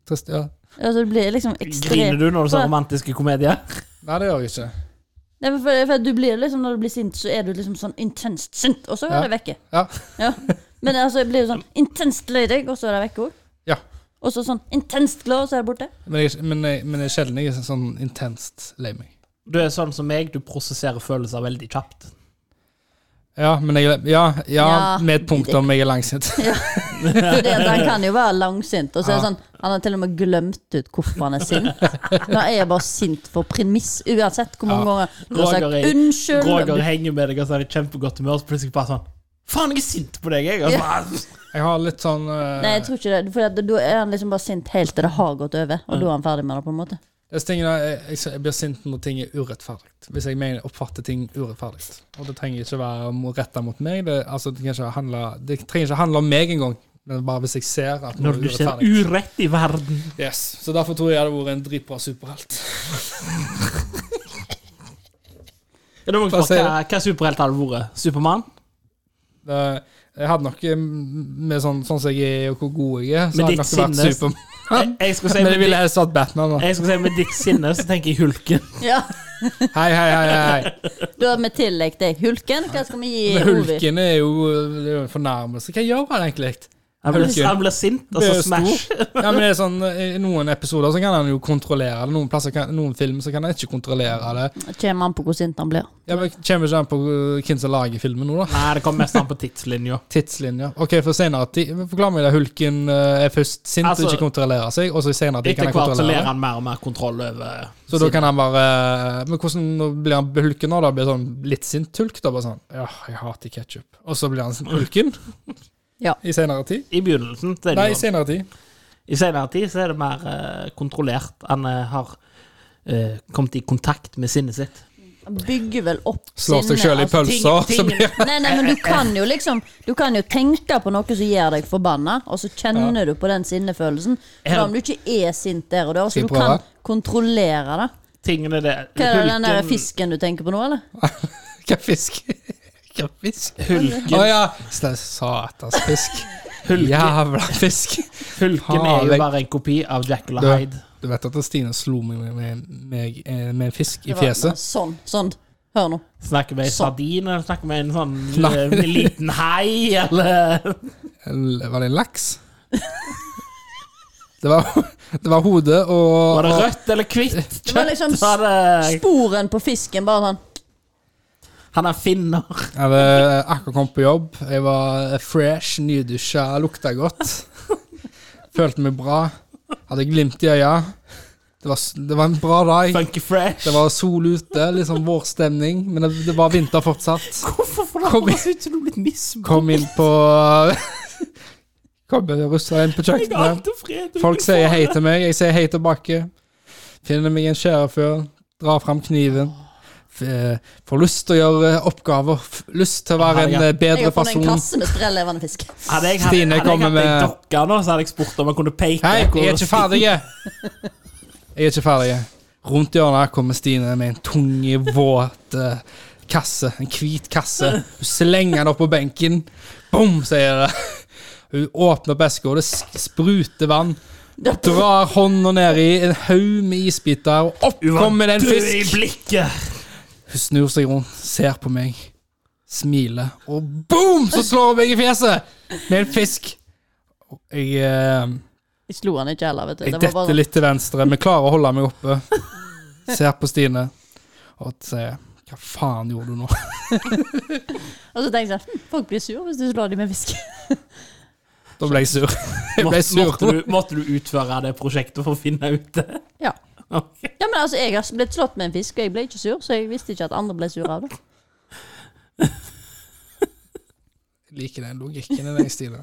Trist, ja. Altså, det blir liksom Griner ekstremt du når du ser romantiske komedier? Nei, det gjør jeg ikke. Nei, men for, for at du blir liksom, Når du blir sint, så er du liksom sånn intenst sint, og så er Ja. det vekke. Ja. Ja. Men altså, jeg blir jo sånn intenst lei deg, og så er det vekke òg. Ja. Og så sånn intenst glad, og så er det borte. Men, jeg, men, jeg, men det er sjelden jeg er sånn intenst lei meg. Du er sånn som meg, du prosesserer følelser veldig kjapt. Ja, men jeg, ja, ja, Ja, med et punkt om jeg er langsint. *laughs* Fordi at han kan jo være langsint. Og så er det sånn, han har til og med glemt ut hvorfor han er sint. Nå er jeg bare sint for premiss, uansett hvor mange ganger du har Roger sagt er- unnskyld. Roger henger med deg og så er det kjempegodt humør, så plutselig bare sånn Faen, jeg er sint på deg, jeg! Og så bare, Jeg har litt sånn eh, Nei, jeg tror ikke det. For da er han liksom bare sint helt til det har gått over, og da er han ferdig med det, på en måte. disse tingene, jeg, jeg, jeg blir sint når ting er urettferdig. Hvis jeg mener oppfatter ting urettferdig. Og det trenger ikke være mo- retta mot meg. Det, altså, det, kan ikke handle, det trenger ikke handle om meg engang. Men bare hvis jeg ser at noe Når er du ser urettferdig. urett i verden Yes. Så derfor tror jeg jeg hadde vært en dritbra superhelt. Ja, da må jeg Hva sier spørre, Hva, hva superhelt hadde det vært? Supermann? Det, jeg hadde nok eh, med sånn, sånn som jeg er, og hvor god jeg er, så Med hadde jeg ditt nok vært sinne- super. Jeg, jeg, skal si, Men jeg med, ville helst vært Batman. da. jeg skal si med ditt sinne, så tenker jeg Hulken. Ja, Hei, hei, hei. *laughs* hei. Da har vi tillagt deg Hulken. Hva skal vi gi Men Ovi? Hulken er jo, det er jo en fornærmelse. Hva gjør han egentlig? Han blir, Hulken. han blir sint, og så Det er smash. Ja, men det er sånn, I noen episoder så kan han jo kontrollere det. Noen plasser kan, noen film så kan han ikke kontrollere det. Kommer an på hvor sint han blir. Ja, men Kommer ikke an på uh, hvem som lager filmen nå, da. Nei, det kommer mest an på tidslinja. Tidslinja. Ok, for senere tid, men Forklar meg det. Hulken uh, er først sint Altså, og ikke kontrollerer seg, og så i senere tid kan Etter han hvert så kontrollere ler det. han mer og mer kontroll over Så da kan han bare uh, Men hvordan blir han hulken nå? da? Blir han sånn litt sint hulk? da? Bare sånn Ja, jeg hater ketsjup. Og så blir han sånn hulken? Ja. I senere tid? I begynnelsen så er det Nei, i sånn. senere tid. I senere tid så er det mer eh, kontrollert. Han eh, har eh, kommet i kontakt med sinnet sitt. Han bygger vel opp Slår seg sinnet, sjøl i altså, pølser, så ting- blir Nei, nei, men du kan jo liksom Du kan jo tenke på noe som gjør deg forbanna, og så kjenner du på den sinnefølelsen. Er det- For om du ikke er sint der og da, så Skal du jeg prøve? kan kontrollere det. Tingene det Hva er det den der Hulken- fisken du tenker på nå, eller? Hva fisk? Hva fisk? Å Hulken, ja. Sla- Satans fisk. hulken, Jævla fisk. hulken er jo Faen, bare en kopi av Jackal Du- og Hyde. Du vet at Stine slo meg med, med, med, eh, med en fisk i Det var- fjeset? Sånn. sånn. Hør nå. Snakker vi Sånn. sardin, eller snakker vi en sånn Nei. eh, liten hai, *laughs* eller Eller Var det en laks? *laughs* Det var, det var hodet og Var det og- rødt eller hvitt? *laughs* Det var liksom Kjøtt var det Sporen på fisken, bare sånn. Han er finner. Jeg hadde akkurat kommet på jobb. Jeg var fresh, nydusja, lukta godt. *laughs* Følte meg bra. Hadde glimt i øya. Det var, s- det var en bra dag. Funky fresh. Det var sol ute, litt sånn vårstemning, men det, det var vinter fortsatt. Hvorfor får det Kom høres ut som du er blitt misbrukt? Kom inn på *laughs* Kom russere inn på Jeg er kjøkkenet. alltid fred. Folk sier hei til meg, jeg sier hei tilbake. Finner meg en sjørøver, drar fram kniven. F- eh, Får lyst til å gjøre oppgaver, f- lyst til å være en eh, Jeg bedre har funnet en person. kasse med sprellevende fisk. Hadde jeg hatt, Stine hadde jeg kommer hatt en med- dokke nå, så hadde jeg spurt om jeg kunne peke. Hei, hvor- jeg er ikke ferdig. Jeg er ikke ferdig. Rundt hjørnet kommer Stine med en tung, våt eh, kasse. En hvit kasse. Hun slenger den opp på benken. Bom, sier det. Hun åpner opp eska, og det sk- spruter vann. Drar hånda nedi en haug med isbiter, og opp Hun var kommer det en død i fisk. blikket. Hun snur seg rundt, ser på meg, smiler, og boom, så slår hun meg i fjeset med en fisk. Og Jeg eh, Jeg slo han ikke heller, vet du. jeg Det var detter bare sånn. litt til venstre, men klarer å holde meg oppe. *laughs* Ser på Stine og sier Hva faen gjorde du nå? Og så tenkte jeg hm, folk blir sur hvis du slår dem med fisk. Da ble jeg sur. *laughs* Jeg ble Måtte, sur. måtte, du, måtte du utføre det prosjektet for å finne ut det? Ja. *laughs* Ok. ja, men altså, jeg har blitt slått med en fisk, og jeg ble ikke sur, så jeg visste ikke at andre ble sure av det. Jeg liker den logikken i deg, Stine.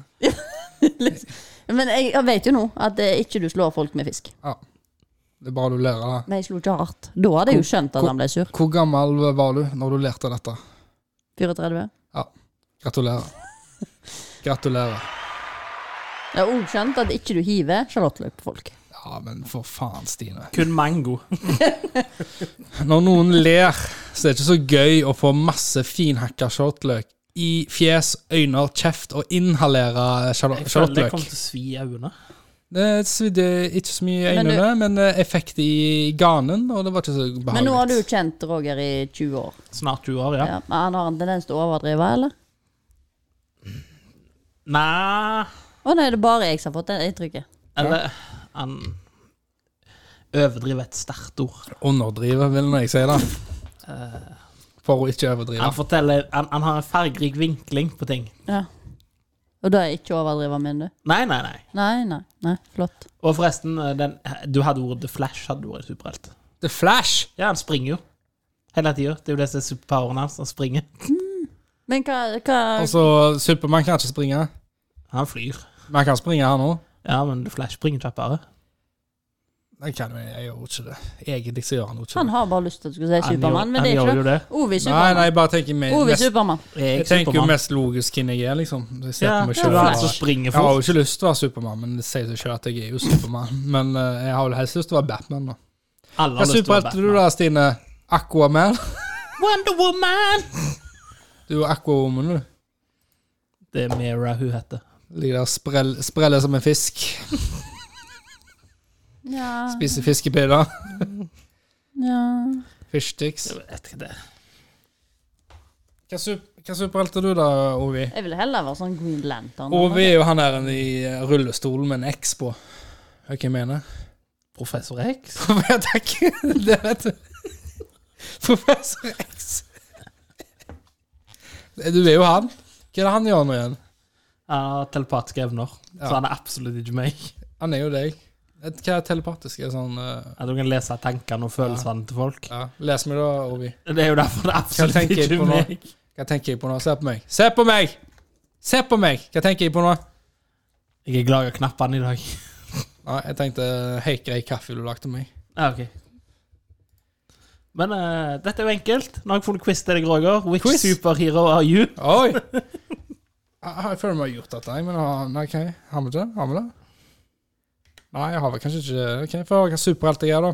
Men jeg, jeg vet jo nå at eh, ikke du slår folk med fisk. Ja. Det er bra du lærer det. Men jeg slo ikke hardt. Da hadde jeg jo skjønt at Hvor- han ble sur. Hvor gammel var du når du lærte dette? 34. Gratulerer. Gratulerer. Jeg har òg skjønt at ikke du hiver sjalottløk på folk. Ja, men for faen, Stine. Kun mango. Når noen ler, så er det ikke så gøy å få masse finhakka shortløk i fjes, øyne, kjeft og inhalere Jeg føler jeg shortløk. kommer til å svi i øynene. Det svidde ikke så mye i Men du- øynene, men, eh, effekt i ganen, og det var ikke så behagelig. Men nå har du kjent Roger i 20 år. Snart 20 år, ja. Ja. men han har en tendens til å overdrive, eller? Nei Å nei, det er bare jeg som har fått det inntrykket. Eller han overdrive et sterkt ord. Underdrive, vil nå jeg si det. Eh. For å ikke overdrive. Han, forteller, han, han har en fargerik vinkling på ting. Ja. Og da er jeg ikke overdriver min, du? Nei, nei, nei. Nei, nei. nei, Flott. Og forresten, eh, den, du hadde ordet The Flash hadde vært en superhelt. The Flash! Ja, han springer jo. Hele tida. Det er jo det som er superpoweren hans. Han springer. Men hva, hva Altså, Supermann kan ikke springe. Han flyr. Men han kan springe her nå. Ja, men The Flash springer kjappere. Jeg kan jo jeg gjør ikke det. Egentlig så gjør han jo ikke Han det. har bare lyst til at du skal si Han Supermann, gjør- men det er han ikke gjør jo det. det. Ove er Nei, nei, Supermann. jeg bare tenker meg Ove er mest, Supermann. Jeg, Jeg tenker jo mest logisk hvem jeg er, liksom. Jeg ser ja, på meg det er selv, han som bare- springer Jeg har jo fort. ikke lyst til å være Supermann, men det sier seg selv at jeg er jo Supermann. Men eh, jeg har vel helst lyst til å være Batman, da. Alle Hva har lyst til å være superhelte du da, Stine? Aquaman? Batman. Wonder Woman! Du er jo Aquawoman, du. Det er Mira hun heter. Ligger der og sprell, spreller som en fisk. Ja, Spiser fiskepinner. ja. Fishsticks. Jeg vet ikke det. Hva, sup hva superhelt er du da, Ovi? Jeg ville heller være sånn Green Lantern. Ovi er jo han der i eh, rullestolen med en X på. Hva jeg mener *laughs* Professor X? Takk. *laughs* Det vet du. Professor X. Eh, Du er jo han. Hva er det han gjør nå igjen? Han har telepatiske evner, så Ja. han er absolutt ikke meg. Han er jo deg. Et- Hva er telepatisk? Er det Sånn, eh, At du kan lese tankene og følelsene til folk. ja. Les meg da, Ovi. Det er jo derfor det er absolutt tenker jeg ikke på nå? meg. Hva tenker jeg på nå? Se på meg. Se på meg! Se på meg! Hva tenker jeg på nå? Jeg er glad jeg har knappene i dag. Nei, jeg tenkte hei, grei kaffe du lagde til meg. Ja, Ah, ok. Men eh, dette er jo enkelt. Nå har jeg funnet quiz til deg, Roger. Which Quiz? superhero are you? *laughs* Oi! jeg, jeg føler vi har gjort dette, jeg, men ah, nei, ok. Har vi det? Har vi det? Nei, jeg har vel kanskje ikke Ok, Få høre hva superhelt jeg er, da.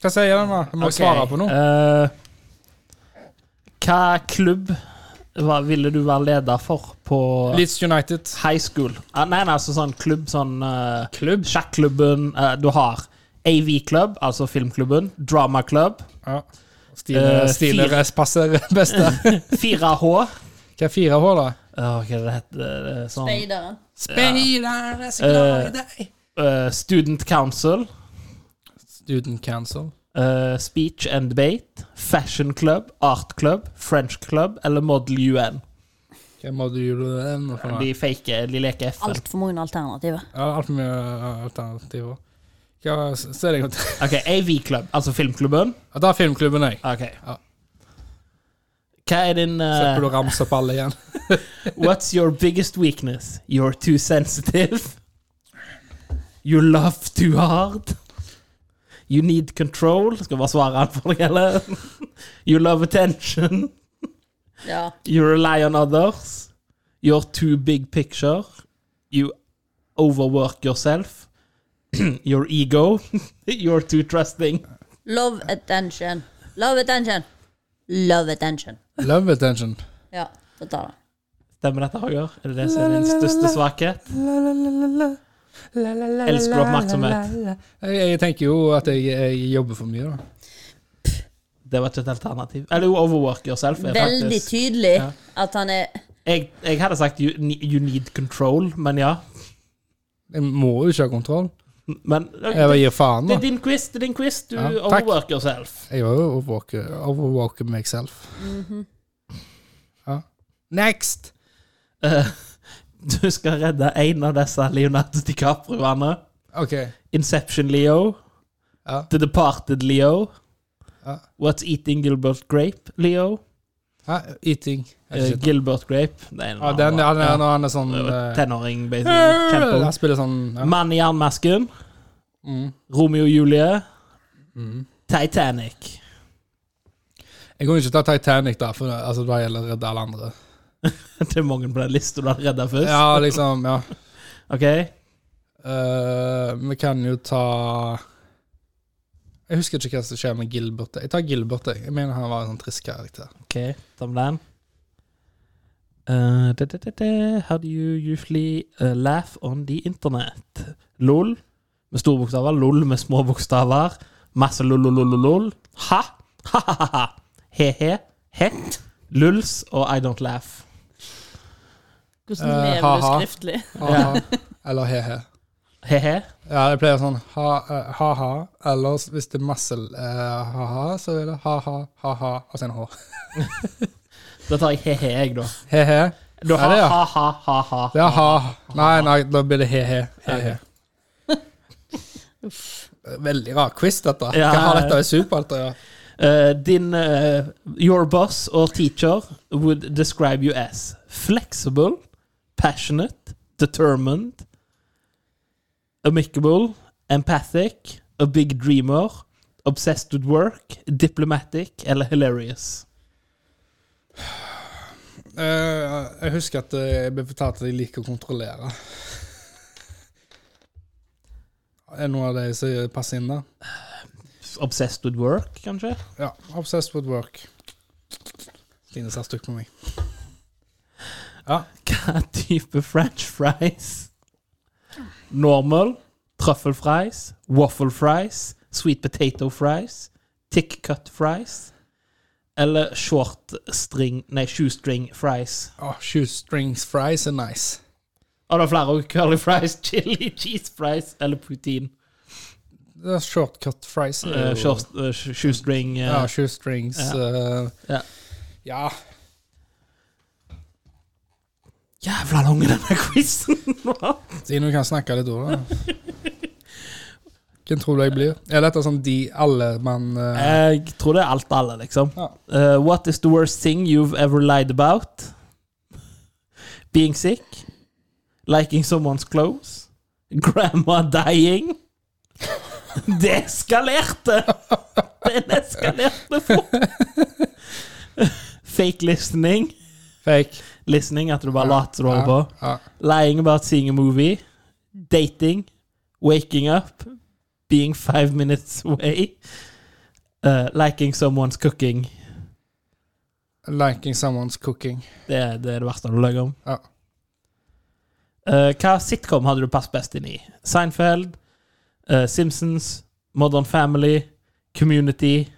Hva sier den, da? Jeg må Ok, svare på noe. eh, hva klubb hva ville du være leder for på Leeds United. high school? Ah, nei, nei, altså sånn klubb sånn eh, Klubb? Sjakklubben eh, du har. AV-klubb, altså filmklubben. Dramaklubb. Ja. Eh, Stine, Stine fire. passer *laughs* best der. 4H. Hva er 4H, da? Uh, eh, hva det heter det? er Sånn, Speideren. Speideren er så glad i deg. eh, student Council. Student Council. eh, speech and debate. Fashion club. Art club. French club. Eller Model UN. Hva må du gjøre den for noe? De fake, de leker FN. Altfor mange alternativer. Ja, Altfor mye uh, alternativer. Hva ser jeg godt Ok, AV-klubb, altså filmklubben. *laughs* Ja, Da er filmklubben, jeg. Ok. Ja. Hva er din eh, Slipper du å ramse opp alle igjen. *laughs* What's your biggest weakness? You're too sensitive. You love too hard. You need control. Skal bare svare alt for deg, eller? *laughs* You love attention. Ja. You rely on others. You're too big picture. You overwork yourself. *clears throat* Your ego. *laughs* You're too trusting. Love attention. Love attention. Love attention. *laughs* Love attention. Ja, da tar det. Stemmer dette, Hager? Er det det som er din største svakhet? Elsker oppmerksomhet. Jeg, jeg tenker jo at jeg, jeg jobber for mye, da. Det var ikke et alternativ. Eller jo, overwork yourself. Er Veldig faktisk. tydelig Ja. at han er Jeg, jeg hadde sagt you, ne- you need control, men ja. Jeg må jo ikke ha kontroll. Men ok, Jeg bare gir faen, det da. er din quiz, det er din quiz. Du Ja, takk. overwork yourself. Jeg var jo overvåker, overvåker meg selv. Mhm. Ja. Next! Eh, *laughs* du skal redde én av disse Leonardo DiCaprio-ene. OK. Inception Leo. Ja. The Departed Leo. Ja. What's Eating Gilbert Grape Leo. Ja, eating. Jeg Eh, har ikke sett den. Gilbert Grape. Det er en Ja, den, ja, den, Ja. er- når han er sånn Eh, eh, Tenåring, basically. Han Kjempeung. spiller sånn ja. Mann i jernmasken. mm. Romeo og Julie. Mm. Titanic. *laughs* Jeg kunne ikke ta Titanic, da, for det- altså, da gjelder det å redde alle andre. Det er mange på den lista du har redda først. Ja, liksom, ja. Ok? Eh, vi kan jo ta Jeg husker ikke hva som skjer med Gilbert. Jeg tar Gilbert, jeg. Jeg mener han var en sånn trist karakter. Okay, thumb down. Uh, da, da, da, da. How do you usually uh, laugh on the internet? LOL med store bokstaver, LOL med små bokstaver. Masse lol-lol-lol. Ha! Ha-ha-ha! He-he. Hett. Luls og I don't laugh. Hvordan Eh, lever du ha-ha. skriftlig? Ha-ha. Eller he-he. He-he. Ja, det pleier sånn ha, eh, ha-ha, eller hvis det er masse eh, ha-ha, så er det ha-ha, ha-ha, og så en H. Da tar jeg he-he, jeg, da. He-he. Du Ja, har det, ja. ha-ha-ha-ha. Det er ha. Nei, nei, da blir det he-he. he-he. *laughs* Veldig rar quiz, dette. Ja. Hva har dette med superhelter å gjøre? Eh, din eh, Your boss or teacher would describe you as flexible, passionate, determined, amicable, empathic, a big dreamer, obsessed with work, diplomatic eller hilarious. Eh, jeg husker at eh, jeg ble fortalt at jeg liker å kontrollere. Er det noen av de som passer inn der? Obsessed with work, kanskje? Ja. Obsessed with work. Stine ser stygt på meg. Hva type french fries? Normal, truffle fries, waffle fries, sweet potato fries, thick cut fries eller short string, nei, shoestring fries. Åh, Ah, Shoestrings fries er nice. Og det er flere også. Curly fries, *laughs* chili, cheese fries eller poutine. Det er shortcut fries. er Eh, jo- short, eh, sh- shoestring eh, Ja, shoestrings. eh, Ja. ja. Jævla lang denne quizen var! Stine, du kan snakke litt over det. Hvem tror du jeg blir? Er dette sånn de alle mann eh, Jeg tror det er alt alle, liksom. Ja. Uh, what is the worst thing you've ever lied about? Being sick? Liking someone's clothes? Grandma dying? *laughs* Det eskalerte! Den eskalerte fort! *laughs* Fake listening. Fake. Listening, at du bare later som du holder på. Ja. Lying about seeing a movie. Dating. Waking up. Being five minutes away. Uh, liking someone's cooking. Liking someone's cooking. Det, er- det er det verste du løy om. Ja. Uh, hva sitcom hadde du passet best inn i? Seinfeld, uh, Simpsons, Modern Family, Community,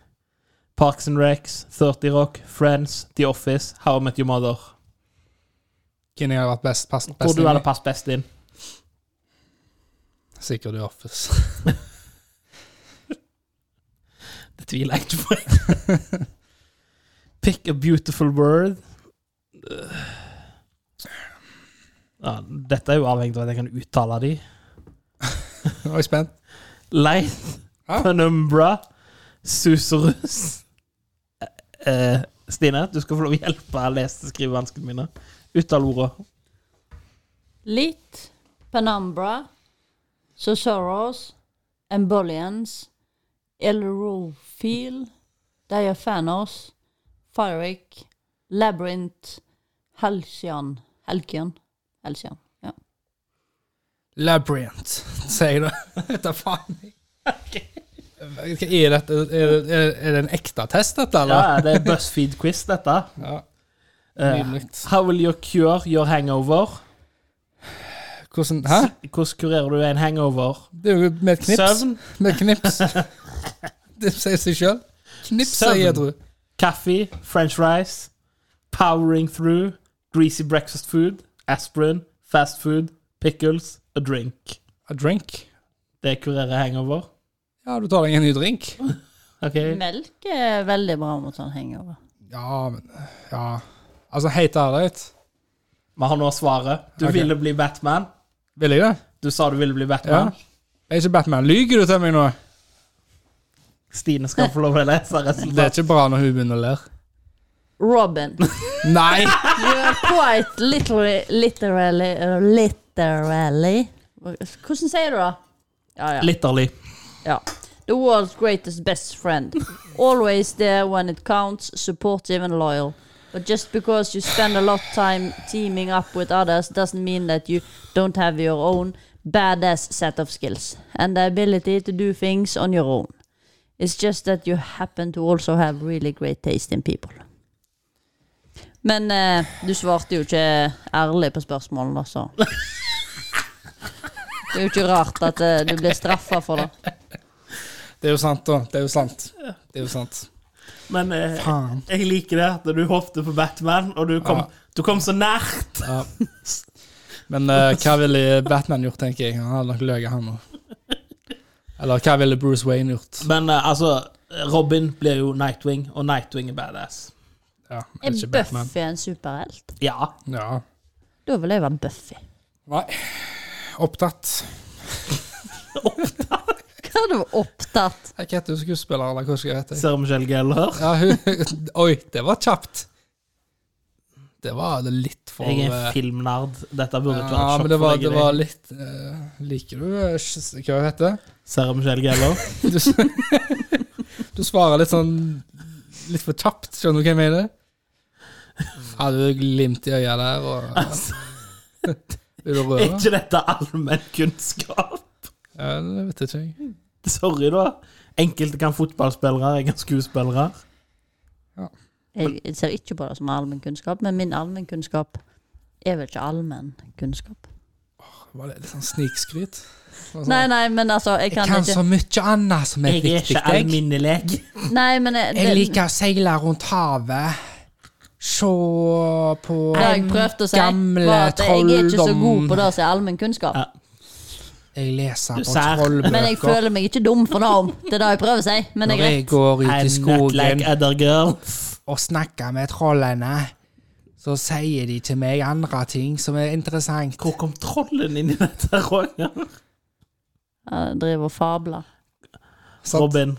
Parks and Recs, 30 Rock, Friends, The Office, How I Met Your Mother. Hvem jeg hadde vært best, pass, Hvor best du inn i? hadde passet best inn? Sikkert i Office. *laughs* Det tviler jeg ikke på. *laughs* Pick a beautiful word. Ja, dette er jo avhengig av at jeg kan uttale de. Nå er jeg spent. Light, Hæ? Penumbra, Suserus. Eh, Stine, du skal få lov å hjelpe å lese og skrive vanskene mine. Uttal ordene. Litt, Penumbra, Sosoros, Embolians, Elrofil, Diaphanos, Fyric, Labyrinth, Halcyon. Halcyon. Halcyon. Ja. Labyrinth, *laughs* sier jeg da. Dette faen jeg. Hva Er, dette, er, det- er, er det en ekte test, dette, eller? Ja, det er BuzzFeed-quiz, dette. Ja. Eh, Nydelig. how will you cure your hangover? Hvordan, hæ? Hvordan kurerer du en hangover? Det er jo med et knips. Søvn? Med et knips. *laughs* Det sier seg sjøl. Knips, sier jeg, tror jeg. Kaffe, french fries, powering through, greasy breakfast food, aspirin, fast food, pickles, a drink. A drink. Det kurerer hangover. Ja, du tar deg en ny drink. Ok, Melk er veldig bra mot sånn hangover. Ja, men Ja. Altså, helt ærlig, Vi har nå svaret. Du Ok. ville bli Batman. vil jeg det? Du sa du ville bli Batman. Jeg er ikke Batman. Lyger du til meg nå? Stine skal få lov til å lese Det er resultatet. ikke bra når hun begynner å le. *laughs* Robin. Nei! You're quite literally Literally, uh, literally. Hvordan sier du det? Ja, ja. Litterlig. Ja. The world's greatest best friend. Always there when it counts, supportive and loyal. But just because you spend a lot of time teaming up with others doesn't mean that you don't have your own badass set of skills and the ability to do things on your own. It's just that you happen to also have really great taste in people. Men eh, du svarte jo ikke ærlig på spørsmålene, så Det er jo ikke rart at eh, du blir straffa for det. Det er jo sant, da. Det er jo sant. Det er jo sant. Men eh, Faen. jeg liker det at du hoppet på Batman, og du kom, du kom så nært. Ja. Men eh, hva ville Batman gjort, tenker jeg. Han hadde nok løyet, han òg. Eller hva ville Bruce Wayne gjort? Men eh, altså, Robin blir jo Nightwing, og Nightwing er badass. Ja, Er ikke Batman. Buffy en superhelt? Ja. Ja. Da vil jeg være Buffy. *laughs* Nei. Opptatt. Hva er du opptatt? Hva heter hun skuespiller, eller hva skal jeg hete? Ser Michelle Geller. Ja, hun, *laughs* oi, det var kjapt. Det var litt for Jeg er eh, en filmnerd. Dette burde ikke Ja, være men et det sjokk var, for det deg. var Var... litt eh, Liker du eh, sj- hva heter det? Ser Michelle *laughs* Geller. Du, s- du svarer litt sånn Litt for kjapt, skjønner du hva jeg mener? Hadde du glimt i øya der og Altså, *laughs* Vil du er røre? ikke dette allmennkunnskap? Ja, det vet jeg ikke. jeg. Sorry, da. Enkelte kan fotballspillere, jeg kan skuespillere. Jeg ser ikke på det som allmennkunnskap, men min allmennkunnskap er vel ikke allmennkunnskap? Var det litt sånn snikskryt? Var det Nei, sånn, nei, men altså, jeg jeg kan kan ikke så mye annet som er Jeg er viktig, ikke jeg. alminnelig. Nei, men jeg, Jeg det- liker å seile rundt havet. Se på Det jeg prøvde å si, gamle var at jeg er ikke så god på det som er allmennkunnskap. Ja. Jeg leser Du på ser. trollbøker. *laughs* Men jeg føler meg ikke dum for det om. Det er det jeg prøver å si. Men Når jeg er jeg rett. går ut i I'm not like skogen other girls. og snakker med trollene, så sier de til meg andre ting som er interessant. Hvor kom trollen inn i dette, Roger? Jeg driver og fabler. Sant? Robin.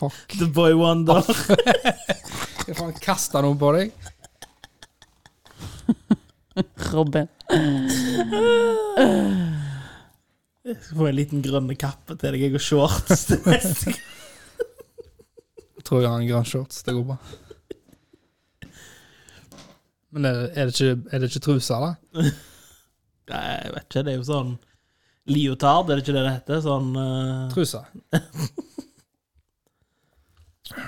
Fuck. The boy wonder. Skal faen kaste noe på deg? Robin. Jeg skal få en liten grønne kappe til deg, jeg og shorts *laughs* til neste gang. Jeg tror jeg har en grønn shorts. Det går bra. Men er det, er det ikke, er det ikke trusa, da? Nei, jeg vet ikke, det er jo sånn Leotard, er det ikke det det heter? Sånn eh, Trusa. *laughs*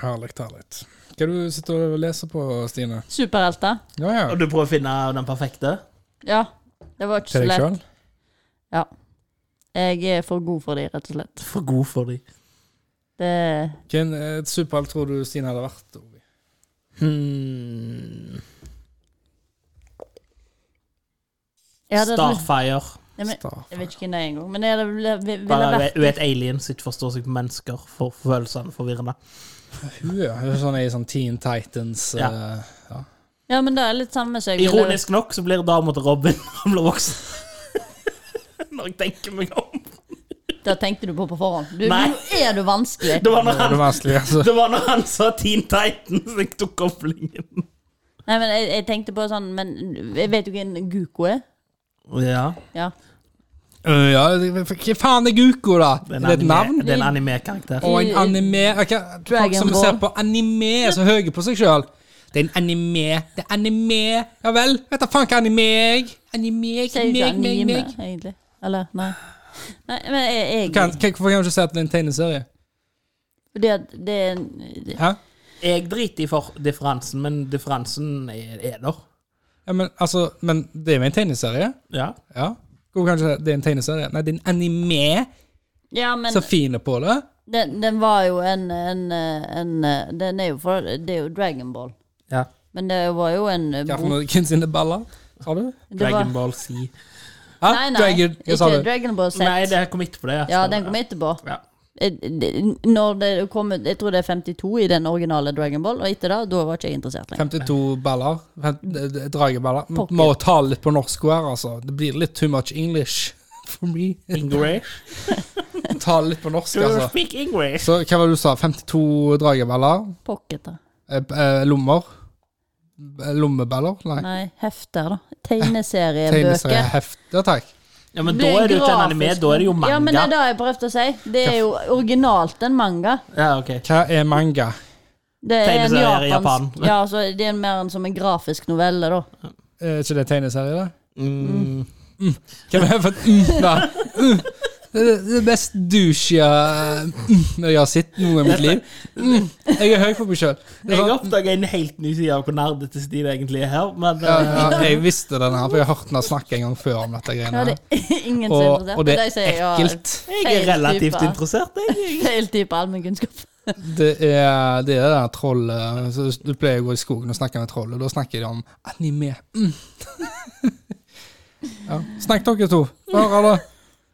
Herlig, herlig. Hva er det du sitter og leser på, Stine? Superhelter. Ja, ja. Og du prøver å finne den perfekte? Ja. Det var ikke så Til deg lett. sjøl? Jeg er for god for de, rett og slett. For god for de. Det Hvem eh, superhelt tror du Stine hadde vært? Ovi? Hmm. jeg hadde- Starfire. Nei, men- Starfire. Jeg vet ikke hvem det er engang. Men jeg hadde ville ville Bare vært hun er et alien som ikke forstår seg på mennesker, for følelsene forvirrende. Hun ja, hun er sånn i sånn Teen Titans Ja. eh, ja. Ja, men det er litt samme som jeg ville- Ironisk nok så blir dama til Robin *laughs* når han blir voksen. Når jeg tenker meg om. Det tenkte du på på forhånd. Du, Nei. nå er du vanskelig. Det var Det når er han, det vanskelig, altså. det var når han sa Teen Titans jeg tok koblingen. Nei, men jeg, jeg tenkte på sånn Men jeg vet jo hvem Guko er. Ja. Ja. Øh, ja, det- hva faen er Guko, da? Det Er det et navn? er en anime-karakter. Og en anime ok, Folk Dragon som Ball. ser på anime, er så høye på seg sjøl. Det er en anime. Det er anime. Ja vel. Vet da faen hva anime er. Anime, Sier jo ikke meg, meg, anime, meg. egentlig. Eller, nei. Nei, men jeg, jeg Kan, kan, hvorfor kan du ikke si at det er en tegneserie? Fordi at det er en- det- Hæ? Jeg driter i for differansen, men differansen er, er der. Ja, men, altså, men det er jo en tegneserie. Ja. Ja. Hvorfor kan du ikke si at det er en tegneserie? Nei, det er en anime Ja, men som fine på det. den, den var jo en, en, en Den er jo for Det er jo Dragon Ball. ja. Men det var jo en Hva for bok noe kunstige baller? Sa du? det var- Dragon Ball Z. Hæ? Nei, Ah, nei. Dragon, hva sa ikke du? Dragon Ball Z. Nei, det kom etterpå, det. Ja, den kom etterpå. Ja. Eh, det- Når det kom ut- Jeg tror det er 52 i den originale Dragon Ball, og etter det, da var ikke jeg interessert lenger. 52 baller. Fem- d- d- Drageballer. M- Pokker. Må ta litt på norsk her, altså. Det blir litt too much English *laughs* for me. English. Ta litt på norsk, You altså. speak English. Så hva var det du sa? 52 drageballer? Pocket, da. Eh, b- eh, Lommer? Eh, Lommeballer? Nei. Nei, hefter, da. Tegneseriebøker. Tegneseriehefter, takk. Ja, men Det da blir er det jo ikke en grafisk. anime, da er det jo manga. Ja, men det er det jeg prøvde å si. Det er jo originalt en manga. Ja, ok. Hva er manga? Det er en Tegneserier i japansk Japan. Ja, så det er mer en som en grafisk novelle, da. Er Eh, ikke det tegneserie, da? Mm. Hvem er det for et mm, da? Mm. Det er det mest douche jeg, mm, jeg har sett noe i mitt liv. Mm. Jeg er sånn- høy på meg sjøl. Jeg oppdaga en helt ny side av hvor nerdete Stine egentlig er her, men Ja, eh, ja, jeg visste den her, for jeg har hørt henne snakke en gang før om dette Ja, greiene. det er *laughs* ingen som er og, interessert. og det Men de er sier, ja, ekkelt. jeg er feil relativt type. interessert, jeg. *laughs* Feil type allmennkunnskap. Det er det er det der trollet så Du pleier å gå i skogen og snakke med trollet, da snakker de om anime. Mm. *laughs* Ja. Snakk dere to. Hva har dere?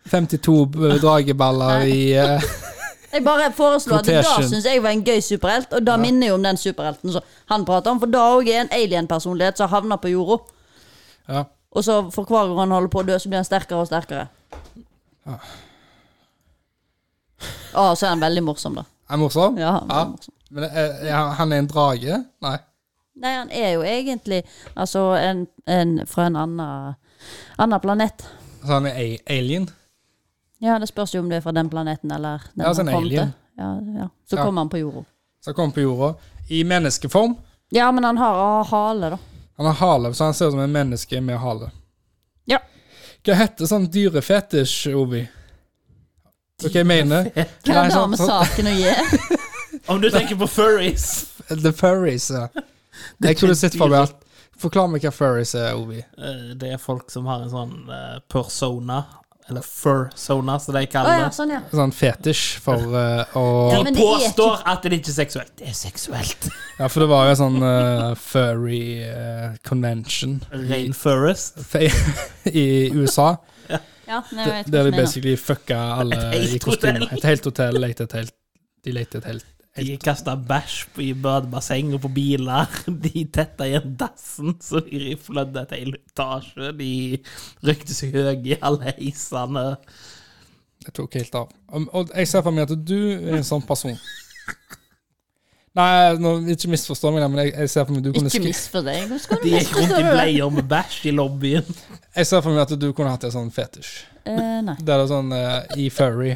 52 b- drageballer i eh, Jeg bare foreslo at det Protection. syns jeg var en gøy superhelt, og da minner jo om den superhelten som han prater om, for da òg er en alienpersonlighet som havner på jorda. Ja. Og så for hver gang han holder på å dø, så blir han sterkere og sterkere. Ja. Å, så er han veldig morsom, da. Er morsom? Ja, han er Ja. morsom. Men eh, ja, han er en drage? Nei. Nei, han er jo egentlig altså en, en fra en annen, annen planet. Så Altså, han er a- alien? Ja, det spørs jo om du er fra den planeten eller den Ja, altså en han kom alien. til. Ja, ja. Så Ja. kommer han på jorda. Som kommer på jorda i menneskeform. Ja, men han har ah, hale, da. Han har hale, så han ser ut som en menneske med hale. Ja. Hva heter sånn dyrefetisj, Ovi? Hva jeg mener? Hva Nei, har det sånn- med sånn- saken å gjøre? Om du tenker på furries! The furries, ja. Jeg kunne sett for meg alt. Forklar meg hva furries er, Ovi. Eh, Det er folk som har en sånn eh, persona, eller fursona, som de Å kaller ja, det. sånn, ja. Sånn fetisj for eh, å Ja, De men det er påstår at det ikke er seksuelt. Det er seksuelt. Ja, for det var jo en sånn eh, furry eh, convention i, Rain forest. *laughs* i USA. ja nei, jeg Der de vet hvordan det er nå. basically fucka alle Et helt i kostyme. hotell. Et helt hotell. Lekte et helt, de lekte et helt De kasta bæsj på- i badebasseng og på biler. *laughs* De tetta igjen dassen, så de flødde et hel etasje. De røykte seg høye i alle heisene. Jeg tok helt av. Um, Og jeg ser for meg at du er en sånn person. Nei, nå, ikke misforstå meg, men jeg, jeg ser for meg at du kunne Ikke skri- misforstå deg. Hvordan *laughs* skal du De gikk rundt misforstå i det? bleier med bæsj i lobbyen. Jeg ser for meg at du kunne hatt en sånn fetisj. Eh, nei. Der det er sånn eh, i furry.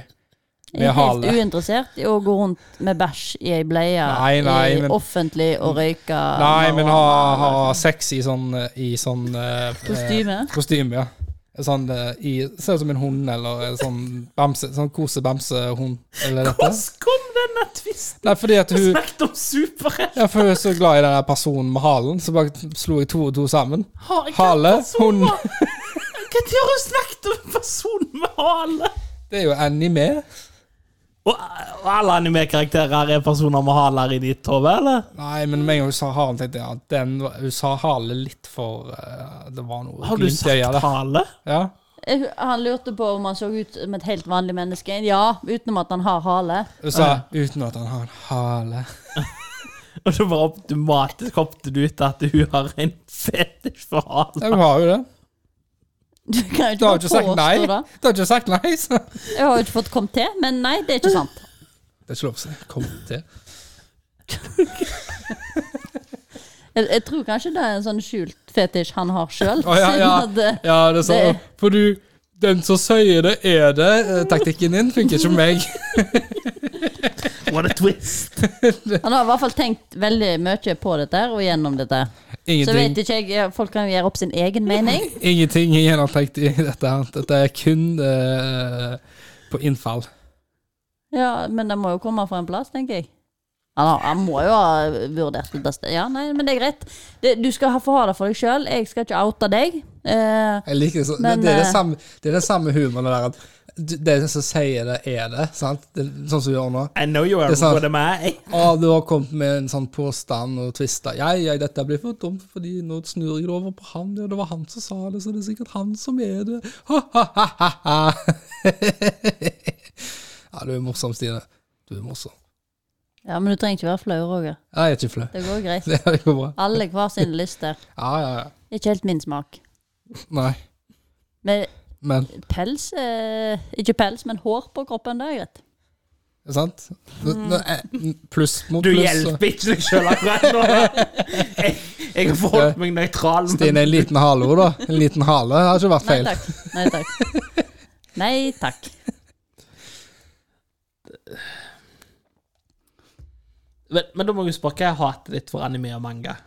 Jeg er Med helt hale. uinteressert i å gå rundt med bæsj i ei bleie Nei, nei, i men- offentlig og røyke Nei, men ha, marihuana. ha sex i sånn, eh, i sånn eh, Kostyme? eh, Kostyme, ja. En Sånn, eh, i, ser ut som en hund eller en sånn, bamse, sånn kosebamsehund. Eller dette. Hvordan kom denne tvisten? Nei, fordi at Vi hun snakket om superhelt. ja, for hun er så glad i den der personen med halen, så bare slo jeg to og to sammen. Har jeg Hale, hatt personer? Når har du snakket om en person med hale? Det er jo anime. Og og alle anime-karakterer er personer med haler i ditt hode, eller? Nei, men med en gang hun sa halen, tenkte jeg at den, var- hun sa hale litt for eh, Det var noe Har du glimt i øyet sagt der. hale? Ja. Eh, Han lurte på om han så ut som et helt vanlig menneske. Ja, utenom at han har hale. Hun sa uten at han har en hale. Og så bare automatisk hoppet du ut at hun har en fetisj for hale. Ja, hun har jo det. Du kan Du har jo ikke bare jo ikke sagt påstå nei. det. Du har ikke sagt nei, så Det Jeg har jo ikke fått kommet til, men nei, det er ikke sant. er ikke lov å si. Kom til. Jeg, jeg tror kanskje det er en sånn skjult fetisj han har sjøl. Å, ja, ja. Ja, det er sånn. Det- For du Den som sier det, er det. Eh, Taktikken din funker ikke med meg. What a twist. eh, Han har i hvert fall tenkt veldig mye på dette her, og gjennom dette. Så vet Ingenting, ikke jeg, ja, folk kan jo gjøre opp sin egen mening. ingenting er gjennomtenkt i dette. her. Dette er kun eh, på innfall. Ja, men det må jo komme fra en plass, tenker jeg. Han, har, han må jo ha vurdert det beste. Ja, nei, men det er greit. Det, du skal ha- få ha det for deg sjøl. Jeg skal ikke oute deg. Eh, Jeg liker det, så, Men, det, det, er eh, det, samme, det er den samme humoren det der at du- den som sier det, er det. sant? Det, er sånn som vi gjør nå. I know you are Det sa- what am I. Å, du har kommet med en sånn påstand og tvista. Ja, ja, dette blir for dumt, fordi nå snur jeg det over på han. Ja, det var han som sa det, så det er sikkert han som er det. Ha, ha, ha, ha, ha. *laughs* ja, du er morsom, Stine. Du er morsom. ja, men du trenger ikke være flau, Roger. Ja, Jeg er ikke flau. *laughs* Det går greit. Det går bra. Alle hver sine lyster. Ja, ja, ja. Det er ikke helt min smak. Nei, Med men pels eh, Ikke pels, men hår på kroppen, det er greit. det er sant? Nå- nå- eh, Pluss mot Du pluss. så- hjelper ikke deg sjøl akkurat nå. Jeg, jeg har forholdt meg nøytral. men- Stine, en liten hale, da. En liten hale det har ikke vært Nei feil. takk. Nei takk. Nei takk. Men, men da må jeg jo spørre hva er hatet ditt for anime og manga?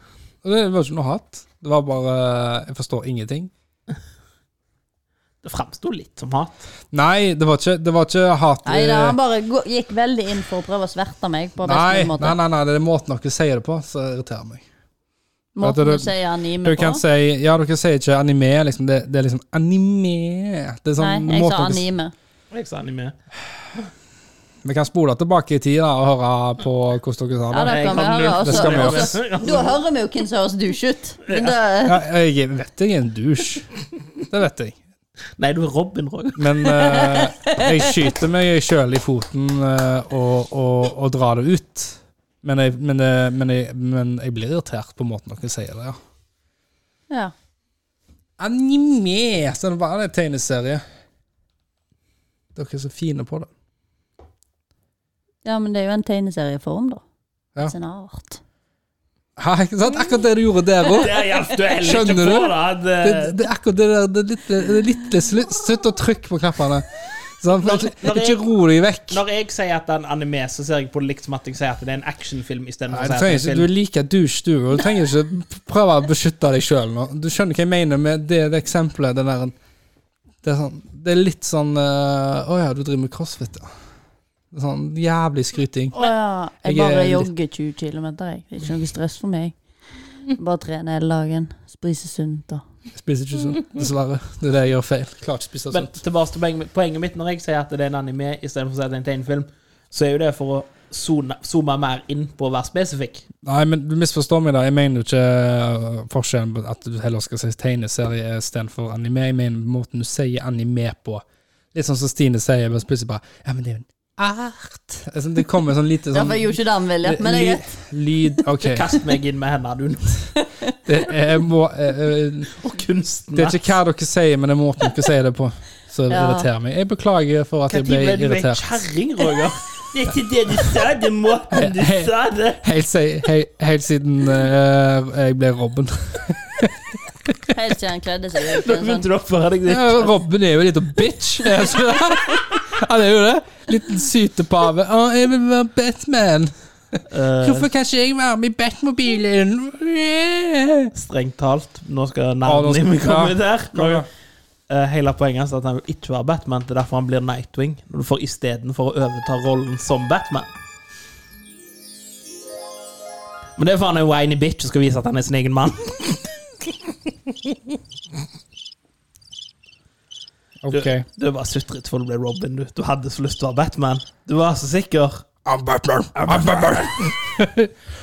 Og Det var ikke noe hat. Det var bare Jeg forstår ingenting. Det framsto litt som hat. Nei, det var ikke, det var ikke hat eh, Nei da, han bare gå- gikk veldig inn for å prøve å sverte meg på best nei, mulig nei, måte. nei, nei, det er måten dere sier det på som irriterer meg. Måten At du du- sier anime Du på. kan si Ja, dere sier ikke anime, liksom. Det, det er liksom anime. Det er sånn Nei, jeg måten sa dere- anime. Jeg sa anime. Vi kan spole tilbake i tida og høre på hvordan dere sa Ja, det. da Jeg kan vi kan høre. lure- og Det så- skal vi og så- *laughs* Da hører vi jo hvem som høres douche ut. Men det- Ja, jeg vet jeg er en douche. Det vet jeg. Nei, du er Robin Roy. Men eh, jeg skyter meg sjøl i foten eh, og, og, og drar det ut. Men jeg, men, eh, men, jeg, men jeg blir irritert på måten dere sier det, ja. ja. Anime! Så det var en tegneserie. Dere er så fine på det. ja, men det er jo en tegneserieform, da. Ja. Sin art. Hæ, ikke sant? Akkurat det du gjorde der òg. Der hjalp du heller ikke Skjønner på, du? da. eh, Det, Det, det er akkurat det der. Det er litt, det er litt slu- Slutt å trykke på knappene. Sånn, Når- ikke, når jeg- ikke ro deg vekk. når jeg sier at det er en anime, så ser jeg på det likt som at jeg sier at det er en actionfilm. I stedet Nei, for du, å trenger si at det ikke, er Altså, du en film. er like douche, du. Og du trenger ikke prøve å beskytte deg sjøl nå. Du skjønner hva jeg mener med det, det eksempelet. Den der, det, er sånn, det er litt sånn eh, Å ja, du driver med crossfit, ja. Det er Sånn jævlig skryting. Å ja. Jeg Jeg er bare litt- jogger 20 km, jeg. Det er ikke noe stress for meg. Bare trene hele dagen. Spise sunt og Jeg spiser ikke sunt, dessverre. Det er det jeg gjør feil. Klarer ikke å spise Men sunt. tilbake til poenget, poenget mitt når jeg sier at det er en anime istedenfor å si at det er en tegnefilm, så er jo det for å zone- zoome mer inn på å være spesifikk. Nei, men du misforstår meg, da. Jeg mener jo ikke eh, forskjellen på at du heller skal si tegneserie istedenfor anime. Jeg mener måten du sier anime på. Litt sånn som Stine sier, men plutselig bare Ja, men det er jo en art. Altså, det kommer sånn lite Ja, sånn for jeg gjorde ikke det med vilje, men det er greit. Lyd OK. Kast meg inn med hendene, du. *laughs* Det, jeg må, eh, eh, Og kunsten. det er ikke hva dere sier, men det er måten dere sier det på som Ja. irriterer meg. Jeg beklager for at jeg ble irritert. kjerring, Roger? Det er ikke det du sa, det er måten du sa det Helt, si- he- helt siden eh, jeg ble Robben. Helt til han kledde seg. i Nå en sånn- begynte du å oppføre deg litt. Ja, Robben er jo en liten bitch. Er han ikke det? Han er jo det. Liten sytepave. Å, jeg vil være Batman. Eh, Hvorfor kan ikke jeg være med i Batmobilen? Strengt talt, nå skal Ja, Ah, nå navnet skal- min komme ja. ut her. Kom igjen. Eh, hele poenget er at han vil ikke være Batman, det er derfor han blir Nightwing. Når du får Istedenfor å overta rollen som Batman. Men det er for han er en whiny bitch og skal vise at han er sin egen mann. *laughs* Ok. Du, du bare sutret for du ble Robin, du. Du hadde så lyst til å være Batman. Du var så sikker. I'm Batman. I'm Batman. *laughs*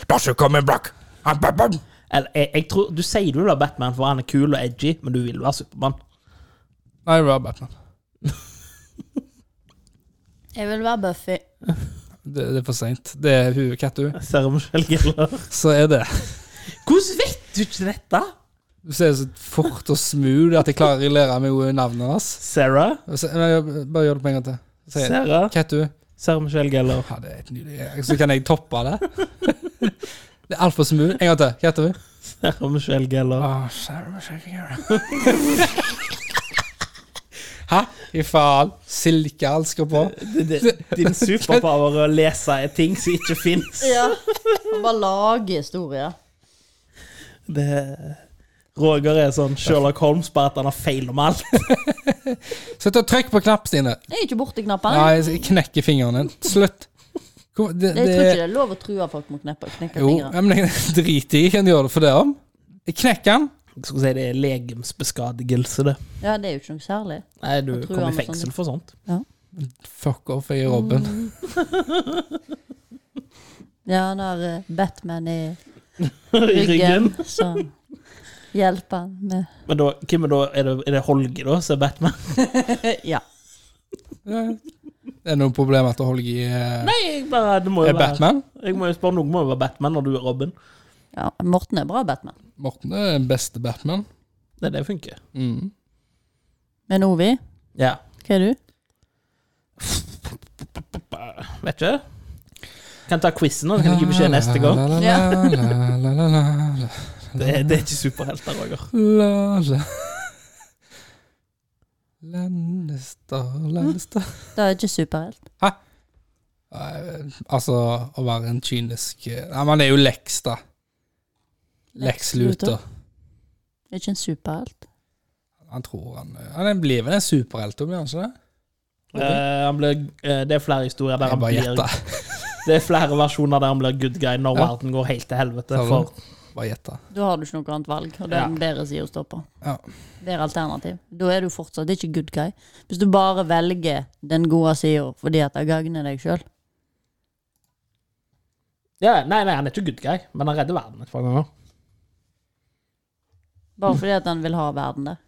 That's a common block. I'm Batman. Eller, jeg, jeg tror, du sier du vil være Batman for han er kul og edgy, men du vil være Supermann. Nei, jeg vil være Batman. Jeg vil være Buffy. Det, det er for seint. Det er hun katt, hun. Ser om selv gjelder. Så er det. Hvordan vet du ikke dette? Du ser så fort og smooth at jeg klarer å regulere meg jo i navnet hans. Sarah? Og så- nei, jeg- Bare gjør det på en gang til. Si Sarah? Kettu. Ser om selv gjelder. Ja, det er et nydelig Så kan jeg toppe det. *laughs* Det er altfor smooth. En gang til. Kettu. Ser om selv gjelder. Hæ? I faen. Silkehalsker på. Det- det- Din superpower er å lese er ting som ikke fins. Ja. Og bare lage historier. Det- Roger er sånn Sherlock Holmes, bare at han har feil om alt. Slutt å trykke på knapp, Stine. Jeg er ikke borti knappene. Nei, jeg knekker fingeren din. Slutt. Hvor- Det, Jeg tror ikke det, det er lov å true folk med å kneppe knekke jo, fingrene. ja, men jeg *laughs* driter i hva du gjør det for det om. Jeg knekker den. Jeg skulle si det er legemsbeskadigelse, det. Ja, det er jo ikke noe særlig. Nei, du Jeg tror kommer i han er fengsel sånn. for sånt. Fuck off, jeg er Robin. Ja, når eh, Batman er *laughs* I ryggen. ryggen, så hjelper han med Men da, hvem er da? Er det, er det Holge, da, som er Batman? Ja. Ja. Det er noe problem at Holgi er, Nei, jeg bare, det må jo er være Batman. Jeg må jo spørre noen må jo være Batman når du er Robin. ja. Morten er bra Batman. Morten er den beste Batman. Det er det funker. Mm. Men Ovi, Ja. hva er du? Vet ikke. Kan ta quizen, og så kan jeg gi beskjed neste *laughs* gang. La, la, Ja. la, la, la, la, la, la. Det, er- det er ikke superhelter, Roger. La, la. Lannister, Lannister Det er ikke superhelt. Nei, Altså, å være en kynisk eh, Nei, man er jo Lex, da. Lex Lex Luthor. Luthor. Ikke en superhelt. Han tror han eh, Han blir vel en superhelt, blir han ikke det? Eh, han blir, eh, det er flere historier der Jeg han bare blir gjetta. Det er flere versjoner der han blir good guy når Ja. verden går helt til helvete Sa du for Bare gjette. Da har du ikke noe annet valg, og det er Ja. deres side å stå på. Ja. Det er alternativ. Da er du fortsatt ikke good guy. Hvis du bare velger den gode sida fordi at det gagner deg sjøl. Ja, nei, nei, han er ikke good guy, men han redder verden et par ganger. Bare fordi at han vil ha verden der.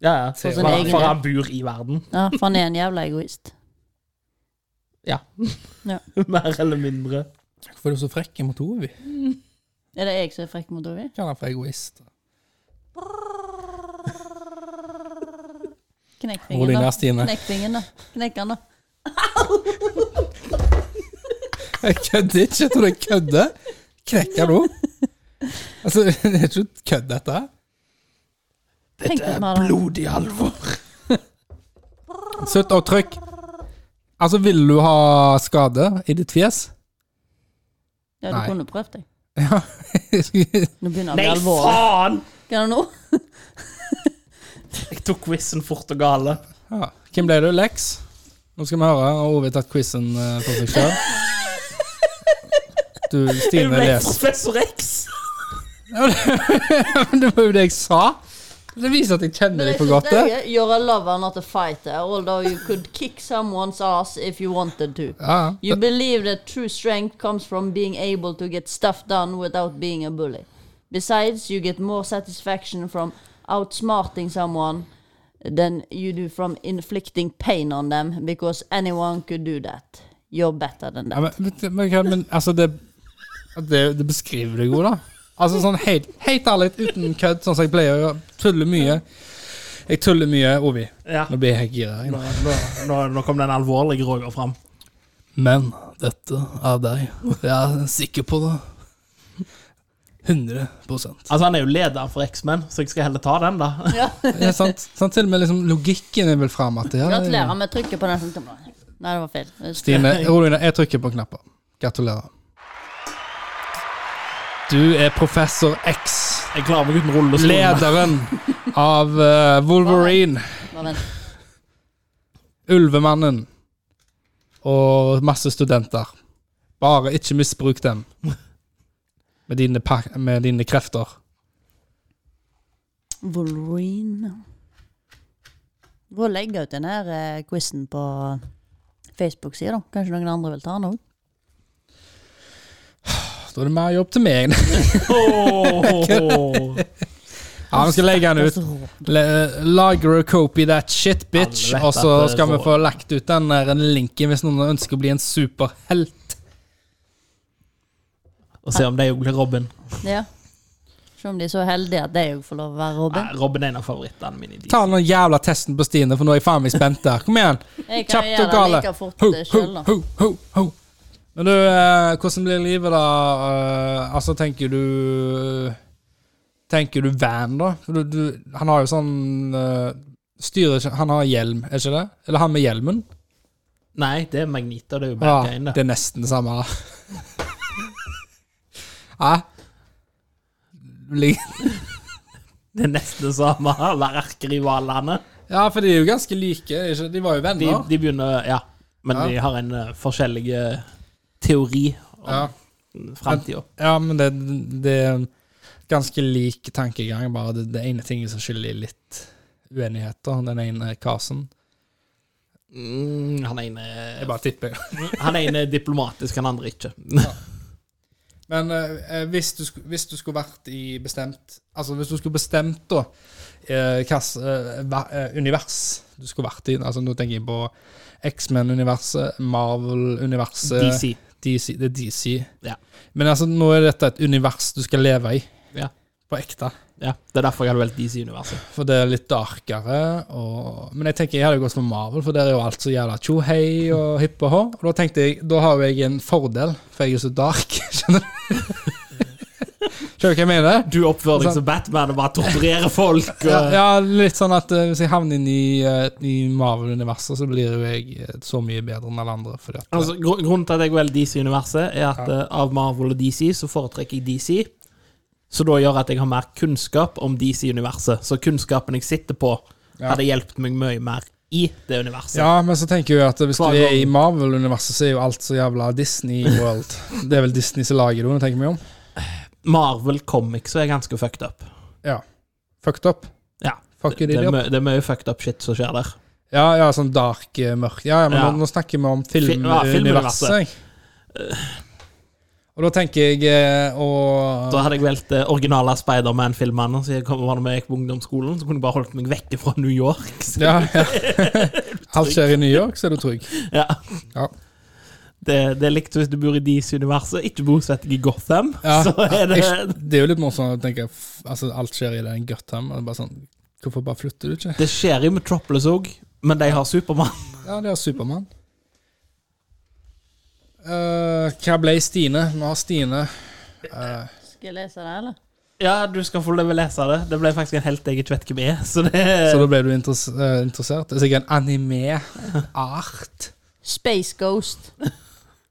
Ja, ja. For sin for, egen for del. han bor i verden. Ja, For han er en jævla egoist. Ja. Ja. *laughs* Mer eller mindre. Hvorfor er du så frekk mot Ovi? Er det jeg som er frekk mot Ovi? Kan han for egoist? Knekk Rolig fingeren, ned, da. Stine. Knekk fingeren, da. Knekk han, da. Jeg kødder ikke. Jeg tror jeg kødder. Knekker nå. Altså, *laughs* det er ikke kødd, dette. her. Tenk hvis vi hadde Blodig alvor. Slutt å trykke. Altså, vil du ha skade i ditt fjes? *laughs* Ja, du Nei. kunne prøvd deg. Ja. Nå Nei, begynner det å bli alvorlig. faen! Hva er det nå? Jeg tok quizen fort og gale. ja. Hvem ble du? Lex? Nå skal vi høre. Har Ove tatt quizen eh, for seg sjøl? Du, Jeg Stine, ble les. professor X. Men *laughs* det var jo det jeg sa. Det viser at jeg kjenner deg for godt. det. You're a lover, not a fighter, although you could kick someone's ass if you wanted to. Ja. You believe that true strength comes from being able to get stuff done without being a bully. Besides, you get more satisfaction from outsmarting someone than you do from inflicting pain on them, because anyone could do that. You're better than Ja, that. men, men, men, hva- men altså, det, det, det beskriver deg jo, da. Altså sånn helt, helt ærlig, uten kødd, sånn som jeg pleier å gjøre. Tuller mye. Jeg tuller mye, Ovi. Ja. Nå blir jeg helt gira. jeg nå. Nå, nå, nå, nå kom den alvorlige Roger fram. Men dette er deg. Jeg er sikker på det. 100 Altså, han er jo leder for X-Men, så jeg skal heller ta den, da. ja, sant, sant, Til og med liksom, logikken er vel frem at ja, Gratulerer med trykket på den punkten. Nei, det var feil. Stine, ro deg ned. Jeg trykker på knapper. Gratulerer. Du er professor X. Jeg klarer meg uten rullestol. *laughs* Lederen av eh, Wolverine, Bare vent. Ulvemannen og masse studenter. Bare ikke misbruk dem med dine, pak med dine krefter. Wolverine. Gå og legge ut den her eh, quizen på Facebook-sida, da. Kanskje noen andre vil ta den òg. Da er det mer jobb til meg. *laughs* Åh. Ja, Vi skal legge den ut. Le- Lager og copy that shit, bitch. Alle vet Og så at det skal vi får- få lagt ut den der linken hvis noen ønsker å bli en superhelt. Og se om de òg blir Robin. Ja. Se om de er så heldige at de òg får lov å være Nei, Robin. Robin er en av favorittene mine. i de- Ta den jævla testen på Stine, for nå er jeg faen meg spent der. Kom igjen. Jeg kan jo Kjapt og gjøre det gale. like fort Ho, sjøl, da. ho, ho, ho. Men du, eh, hvordan blir livet da? Eh, altså, tenker du eh, Tenker du van, da? For du, du, han har jo sånn eh, Styrer ikke Han har hjelm, er ikke det? Eller han med hjelmen? Nei, det er Magnita. Det er jo Ja, bad guyen, det det. er nesten det samme, *laughs* da. Hæ? Du ligger- Det er nesten det samme. Eller erkerivalene. Ja, for de er jo ganske like. er Ikke? De var jo De, venner. de begynner Ja. Men Ja. de har en uh, forskjellig eh, teori ja. om framtida. Ja, men det, det er en ganske lik tankegang, bare det, det ene tinget som skylder litt uenigheter. Den ene er Karsen. Mm, han ene Jeg bare tipper. Han ene er diplomatisk, han andre *laughs* ikke. Men eh, eh, hvis, du, sku- hvis du skulle vært i bestemt Altså hvis du skulle bestemt da eh, hvilket eh, ver- eh, univers du skulle vært i Altså Nå tenker jeg på X-Men-universet, Marvel-universet DC. DC, det er DC. Ja. Men altså nå er dette et univers du skal leve i. Ja. På ekte. Ja, det er derfor jeg hadde valgt DC-universet. For det er litt darkere. Og, men jeg tenker jeg hadde gått for Marvel, for der er jo alt så jævla tjohei og hipp og hå. Og da tenkte jeg, da har jo jeg en fordel, for jeg er så dark. *laughs* Skjønner du? Skjønner du hva jeg mener? Du oppfører deg som Batman og bare torturerer folk. *laughs* Og... Ja, ja, litt sånn at eh, hvis jeg havner inn i, eh, i Marvel-universet, så blir jo jeg eh, så mye bedre enn alle andre. Fordi at, Altså, gru- grunnen til at jeg velger DC-universet, er at eh, av Marvel og DC så foretrekker jeg DC. Så da gjør at jeg har mer kunnskap om DC-universet. Så kunnskapen jeg sitter på, Ja. hadde hjulpet meg mye mer i det universet. ja, men så tenker jeg jo at hvis du Hver er i gang. Marvel-universet, så er jo alt så jævla Disney World. Det er vel Disney som lager det, når jeg tenker meg om. Marvel Comics er ganske fucked up. Fucked up. Ja. Fuck it, Det er, idiot. mø- det er mye fucked up shit som skjer der. Ja, ja, sånn dark, eh, mørk Ja, ja, men Ja. Nå, nå snakker vi om Fil- ja, filmuniverset. filmuniverset. jeg. og da tenker jeg eh, å Da hadde jeg valgt det originale Spiderman-filmene. Så jeg kom, var det med jeg gikk på ungdomsskolen, så kunne jeg bare holdt meg vekke fra New York. *laughs* Så, ja, ja. *laughs* Alt skjer i New York, så er du trygg. ja. Ja. Det, det er likt hvis du bor i DC-universet, ikke bosett deg i Gotham. Ja, Så er det *laughs* jeg- det er jo litt morsomt å tenke f- altså, alt skjer i den Gutham. og det er Bare sånn, hvorfor bare flytter du ikke? Det skjer i Metropolis òg, men de har Supermann. Ja, det er Supermann. Eh, hva ble Stine? Nå har Stine eh, Skal jeg lese det, eller? Ja, du skal få lov å lese det. Det ble faktisk en helt jeg ikke vet hvem er. E, Så det Så da ble du interess eh, interessert? Det er sikkert en anime-art. Space Ghost.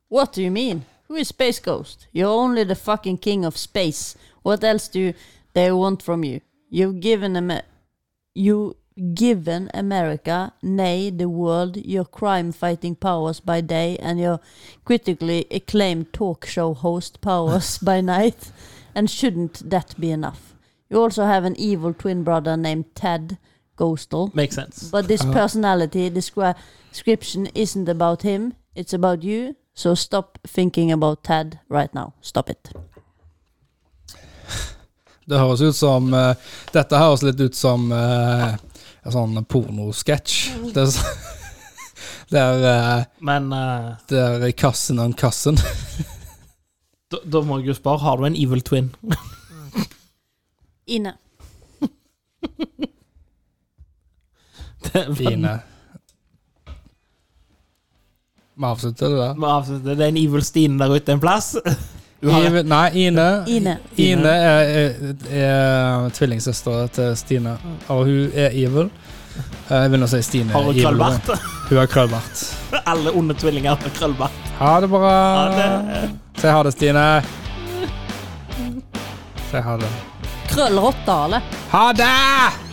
What do you mean? Who is Space Ghost? You're only the fucking king of space. What else do they want from you? You've given Amer- you given America, nay the world, your crime-fighting powers by day and your critically acclaimed talk show host powers by night. And shouldn't that be enough? You also have an evil twin brother named Ted Ghostal. Makes sense. But this personality descri- description isn't about him, it's about you. So stop thinking about Tad right now. Stop it. Det høres ut som eh, Dette høres litt ut som eh, en sånn pornosketsj. Det er så- *laughs* Der, eh, Men eh, der er kassen og kassen. da, da må jeg jo spørre, har du en evil twin? *laughs* Ine. Fine. Fine. Vi avslutter det der. Det er en evil Stine der ute en plass. Du har Ive- nei, Ine. Ine. Ine er, er, er tvillingsøster til Stine, og hun er evil. Eh, Jeg vil nå si Stine har er hun evil. krøllbart? *laughs* Hun har krøllbart. Alle onde tvillinger har krøllbart. Ha det bra. Ja, det- Si ha det, Stine. Si ha det. Krøllrotte, eller? Ha det!